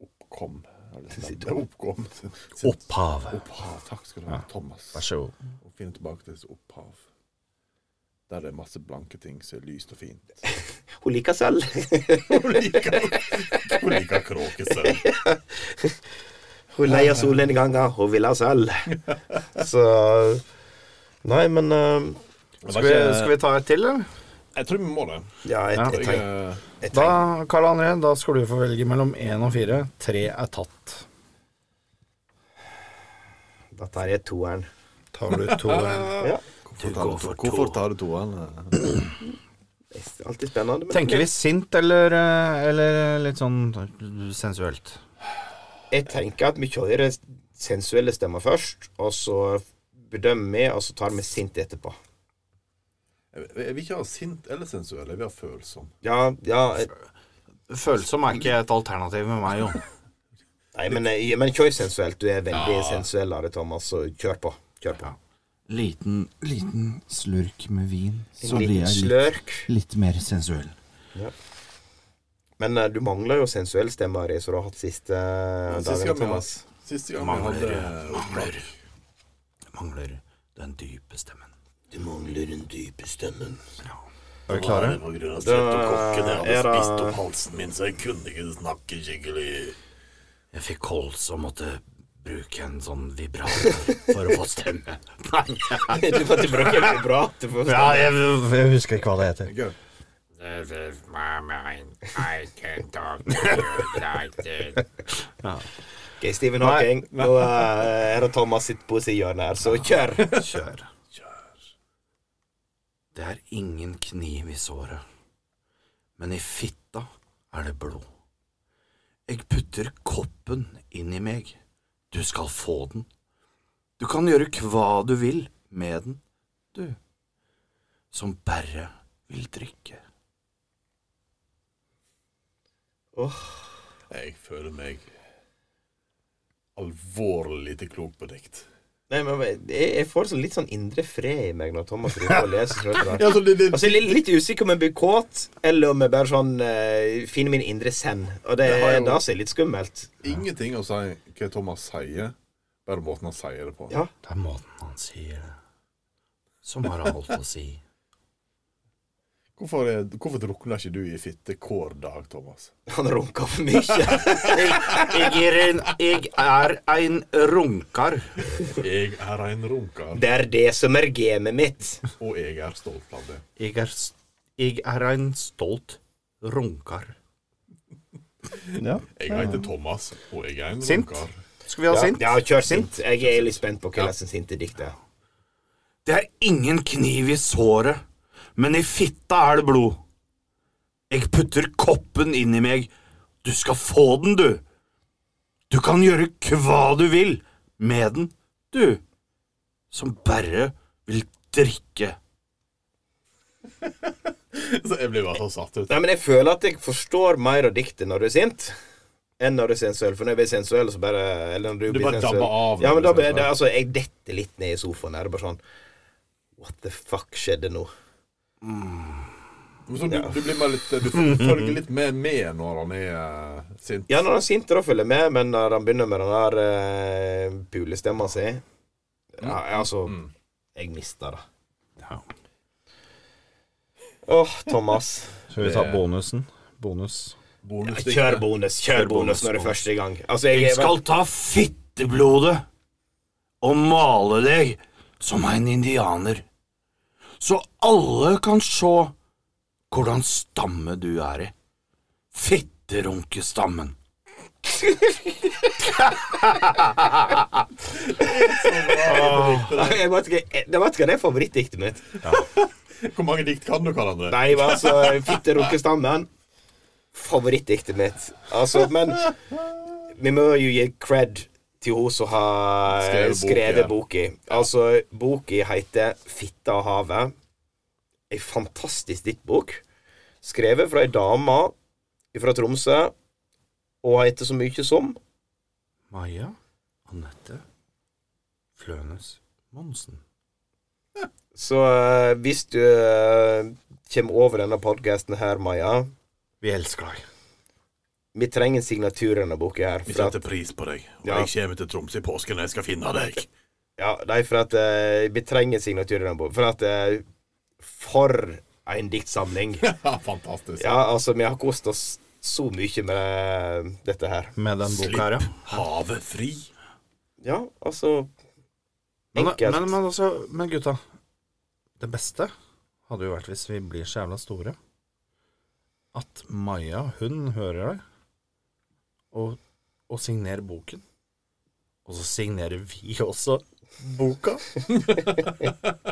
oppkom. Eller sin oppkom. Sin, sin Opphav. opphav. Takk skal du ha, Ja. Thomas. Vær så god. Og finne tilbake til sitt opphav. Der det er masse blanke ting som er lyst og fint. Hun liker selv. Hun liker, hun liker kråkesølv. Hun leier solnedganger, hun vil ha selv. Så Nei, men eh, Skal vi, skal vi ta et til, eller? Jeg tror vi må det. Ja, jeg, jeg, Jeg, tenker- eh, jeg Da, tenker Karl André, da skal du få velge mellom én og fire. Tre er tatt. Dette her er toeren. Tar du to *laughs* Ja. hvorfor, tar du to? hvorfor tar du toen? Det er alltid spennende. Men Tenker vi sint eller, eh, eller litt sånn sensuelt? jeg tenker at vi kjører sensuelle stemmer først, og så bedømmer vi, og så tar vi sint etterpå. Jeg jeg vil ikke ha sint eller sensuell, jeg vil ha følsom. Ja, ja eh, Følsom er ikke et alternativ med meg, Jon. Nei, men, eh, men kjør sensuelt. Du er veldig sensuell av det, Thomas, så kjør på. Kjør på. Liten, liten slurk med vin, så En blir liten jeg litt, slørk. litt mer sensuell. Men eh, du mangler jo sensuell stemme, Ari, som du har hatt siste eh, Siste dagen, gang vi Thomas. hadde Siste gang vi hadde opptak. Mangler den dype stemmen. Du mangler den dype stemmen. Er vi klare? På grunn av streptokokken. Jeg hadde er det- spist opp halsen min, så jeg kunne ikke snakke skikkelig. Jeg fikk kols og måtte bruke en sånn vibrator for å få stemme. Nei, *laughs* du måtte bruke en vibrator for å Ja, jeg, jeg husker ikke hva det heter. Gøy. This is my mind. I can talk to you like this. Ok, Stephen Hawking, nå eh, er det Thomas sitt poesihjørne her, så kjør! Kjør. Det er ingen kniv i såret, men i fitta er det blod. Jeg putter koppen inn i meg. Du skal få den. Du kan gjøre hva du vil med den, du, som bare vil drikke. Jeg føler meg alvorlig lite klok på dikt. Nei, men jeg, jeg får sånn litt sånn indre fred i meg når Thomas driver og leser. sånn etter det. Ja, så det, det, Altså, jeg er litt usikker om jeg blir kåt, eller om jeg bare sånn eh, finner min indre zen. Og det, Det har er jo- det som er litt skummelt. Ingenting å si hva Thomas sier, bare måten han sier det på. Ja. Det er måten han sier det som har alt å si. Hvorfor, er- hvorfor drukner ikke du i fitte hver dag, Thomas? Han runker for mye. *laughs* Jeg er en, jeg er en runkar. Jeg er en runker, Det er det som er gamet mitt. og jeg er stolt av det. Jeg er, s- jeg er en stolt runkar. Ja. Jeg heter Thomas, og jeg er en Sint. runker. Skal vi ha sint? Ja, kjør sint. Jeg er litt spent på hva som sinte dikt er. Det er ingen kniv i såret, men i fitta er det blod. Jeg putter koppen inn i meg. Du skal få den, du. Du kan gjøre hva du vil med den, du, som bare vil drikke. *laughs* Så jeg blir bare så satt ut. Nei, men jeg føler at jeg forstår mer av diktet når du er sint. Enn når du er sensuell. For når jeg blir sensuell, så bare Eller når du, Du blir bare sensuell dabber av når Ja, men du da blir blir det sensuell. Altså, jeg detter litt ned i sofaen. Er det bare sånn What the fuck skjedde nå? Så du, du blir bare litt Du følger litt mer med når han er eh, sint. Ja, når han er sint, da følger jeg med, men når han begynner med den der uh, pulestemma si ja, Altså Jeg mista det. Åh, Thomas. *laughs* Skal vi ta bonusen? Bonus. Ja, Bonusdiktet. kjør bonus. Kjør bonus når det er første gang. Altså, jeg, Jeg er- skal ta fitteblodet og male deg som en indianer, så alle kan se hvordan stamme du er i. Fitterunkestammen. *laughs* jeg vet ikke, jeg vet ikke, det er favorittdiktet mitt. Hvor mange dikt kan du, Karl André? Nei, men altså, fitte runkestammen Favorittdiktet mitt. Altså, men vi må jo gi cred til hun som har Skrevet bok, skrevet ja. boka. Altså, boka heter 'Fitta og havet'. Ei fantastisk diktbok. Skrevet fra ei dame fra Tromsø, og heter så mye som Maja Anette Flønes Monsen. Så eh, hvis du eh, kommer over denne podkasten her, Maja Vi elsker deg. Vi trenger en signatur i denne boka her. Vi for at- setter pris på deg. Og Ja. jeg kommer til Tromsø i påsken, og jeg skal finne deg. Ja, nei, for at eh, vi trenger signatur i den boka. For at eh, For en *laughs* diktsamling. Ja, fantastisk. Ja, altså, vi har kost oss så mye med eh, dette her. Med den boka her, ja. Havet fri. Ja, altså Men, Enkelt. men, men, altså, men gutta, det beste hadde jo vært hvis vi blir så jævla store at Maja, hun hører deg, og, og signerer boken. Og så signerer vi også boka.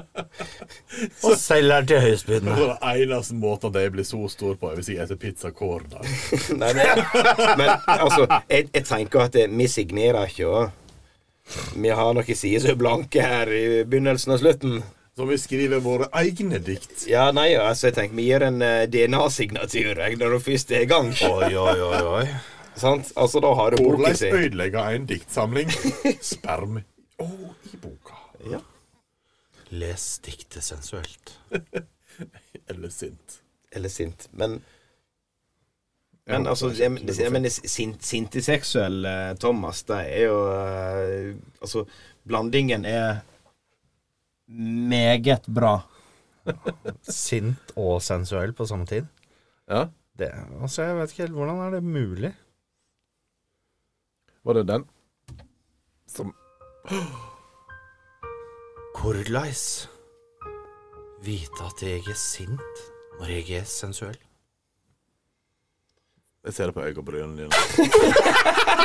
og selger til Det høystbydende. er den eneste måten at jeg blir så stor på, er hvis jeg spiser pizza hver dag. *laughs* Nei, men, men altså, jeg, jeg tenker at eh, vi signerer ikke, og vi har noen sider som er blanke her i begynnelsen og slutten. Så vi skriver våre egne dikt. Ja, nei, altså, jeg tenker vi gir en eh, DNA-signatur jeg, når du først er i gang. Oi, oi, oi, oi. *laughs* Sant? Altså, da har du boka Hvordan si. ødelegge en *laughs* diktsamling? Sperm oh, i boka. Les diktet sensuelt. *laughs* Eller sint. Eller sint. Men men altså, jeg, jeg, jeg mener sint, sintiseksuell eh, Thomas, det er jo eh, Altså, blandingen er meget *laughs* bra. Sint og sensuell på samme tid. Ja? Det, altså, jeg vet ikke helt hvordan er det mulig. Var det den som Korleis vite at jeg er sint når jeg er sensuell? Jeg ser det på øyebrynene dine.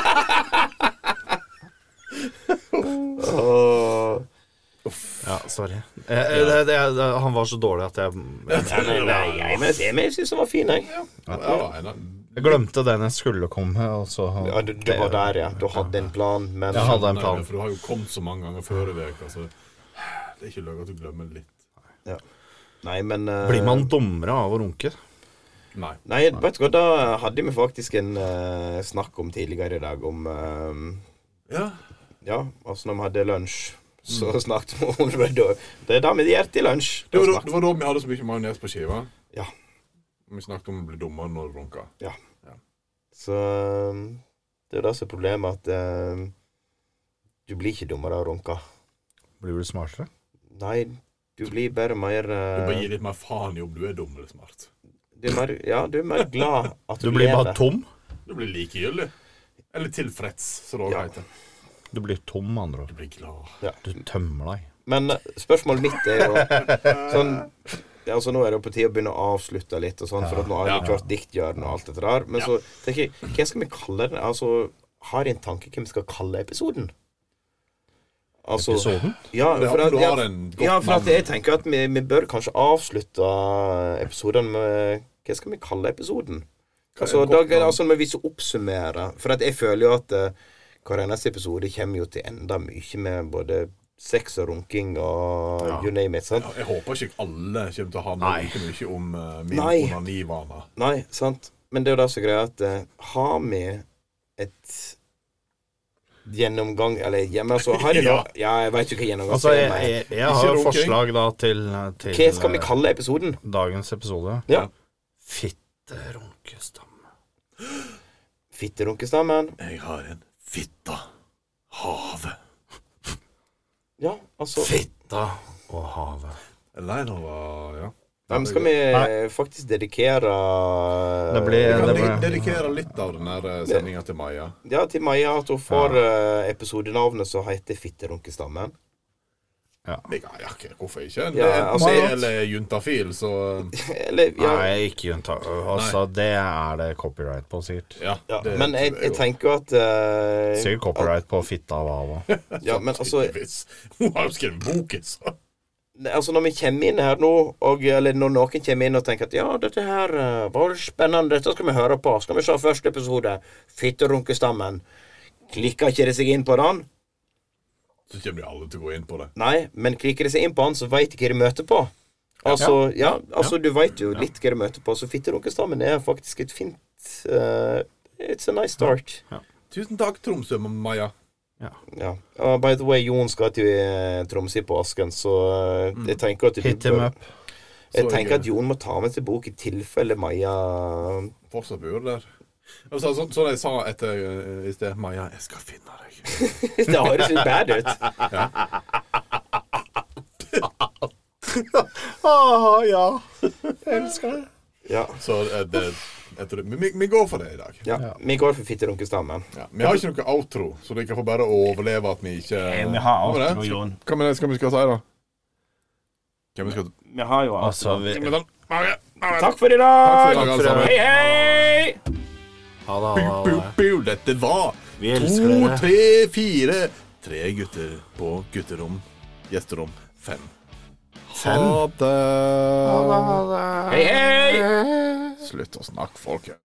Ja, sorry. Eh, eh, det, det, det, han var så dårlig at jeg, jeg, Nei, nei, jeg, men jeg, jeg syns den var fin, jeg. Ja, det var en av jeg glemte den jeg skulle komme, og så Ja, du, du var der, ja. Du hadde en plan, men Jeg hadde en Nei, plan. For du har jo kommet så mange ganger før i veka, så det er ikke løgn at du glemmer litt. Nei, men eh, Blir man dummere av å runke? Nei. Nei, vet du hva, da hadde vi faktisk en eh, snakk om tidligere i dag om eh, Ja. Ja, altså når vi hadde lunsj, så snakket vi om det. da. Det er det vi gjør til lunsj. Det Da var, da- snakket- det var da vi hadde så mye majones på skiva. Ja. Vi snakket om å bli dummere når du runker. Så um, det er jo det som er problemet, at um, du blir ikke dummere av å runke. Blir du smartere? Nei, du blir bare mer Du uh, bare gir litt mer faen i om du er dum eller smart. du er mer, Ja, du er mer glad *laughs* at Du du, blir bare lever. tom? Du blir likegyldig. Eller tilfreds, som det også Ja. heter. Du blir tom, med andre ord. Du blir glad. Du tømmer deg. Men uh, spørsmålet mitt er jo sånn ja, altså Nå er det jo på tide å begynne å avslutte litt, og sånn, for at nå har vi klart diktgjørende og alt dette der. Men så tenker jeg, hva skal vi kalle den? Altså, har jeg en tanke hvem vi skal kalle episoden? Altså, Episoden? Ja, Det for har- at, du ja, har en godt ja, for at navn. jeg tenker at vi, vi bør kanskje avslutte episoden med Hva skal vi kalle episoden? Altså, da, altså når vi så oppsummerer For at jeg føler jo at eh, hver eneste episode kommer jo til enda mye med både sex og runking og you name it. sant? Ja, Jeg håper ikke alle kommer til å handle like mye om eh, min Nei. onanivane. Nei, sant. Men det er jo det som er greia, at eh, har vi et gjennomgang Eller hjemme, altså har jeg da Ja. Ja, jeg veit jo hva gjennomgang Altså, jeg, er. jeg, jeg har jo runking. forslag da til, til Hva skal vi kalle episoden? eh, dagens episode. Ja. Fitterunkestam. Fitterunkestammen. Jeg har en fitta. Havet. Ja, altså Fitta og havet. Nei, nå var Ja. Nei, men skal vi eh, faktisk dedikere Det blir, Jeg kan det de- blir dedikere litt av denne sendinga til Maja. eh, Ja, til Maja at hun får eh, episodenavnet som heter Fitterunkestammen. Jeg- Ja, ok, hvorfor ikke? Det Ja, er altså, jeg- eller juntafil, så eh, Eller ja, Nei, ikke unnta... Altså, det er det copyright på, sikkert. Ja. ja. det Men jeg, tror jeg jo. tenker jo at eh, Sikkert copyright på fitta og havet. Ja, men altså Tydeligvis. *laughs* Hun har jo skrevet boken, så. Ne, Altså Når vi kommer inn her nå, og, eller når noen kommer inn og tenker at ja, dette her eh, var jo spennende, dette skal vi høre på, skal vi se første episode, Fitterunkestammen, klikker ikke det seg inn på den? Så kommer de alle til å gå inn på det. Nei, men klikker det seg inn på den, så veit de hva de møter på. Altså, ja, altså du veit jo litt hva de møter på, så Fitterunkestammen er faktisk et fint eh, It's a nice start. Tusen takk, Tromsø, Maja. Ja. Uh, by the way, Jon skal til eh, Tromsø på Asken, så eh, jeg tenker at du Hit him bør- up. Jeg Så tenker gøy. at Jon må ta med seg bok i tilfelle Maja *laughs* Fortsatt bor der. Altså, så, så jeg sa etter eh, i sted Maja, jeg skal finne deg. *laughs* Det høres litt bad ut. *laughs* Ah, ja. Jeg elsker det. Ja, Så eh, det, jeg tror, vi, vi går for det i dag. ja. Vi går for fitterunkestammen. Ja. Vi har ikke noe outro, så dere får bare overleve at vi ikke Eh, Vi har vi det? outro, Jon. Hva med det skal vi skal si, da? Hvem vi skal Vi har jo outro. Altså, vi... Men da- Maja, Maja. Takk for i dag! Takk for i dag, alle sammen. Hei, hei! Ha det, ha det, Bu, ha bu, det. bu. Dette var to, tre, fire Tre gutter på gutterom. Gjesterom fem. Ha det. Hei, hei! Slutt å snakke, folkens.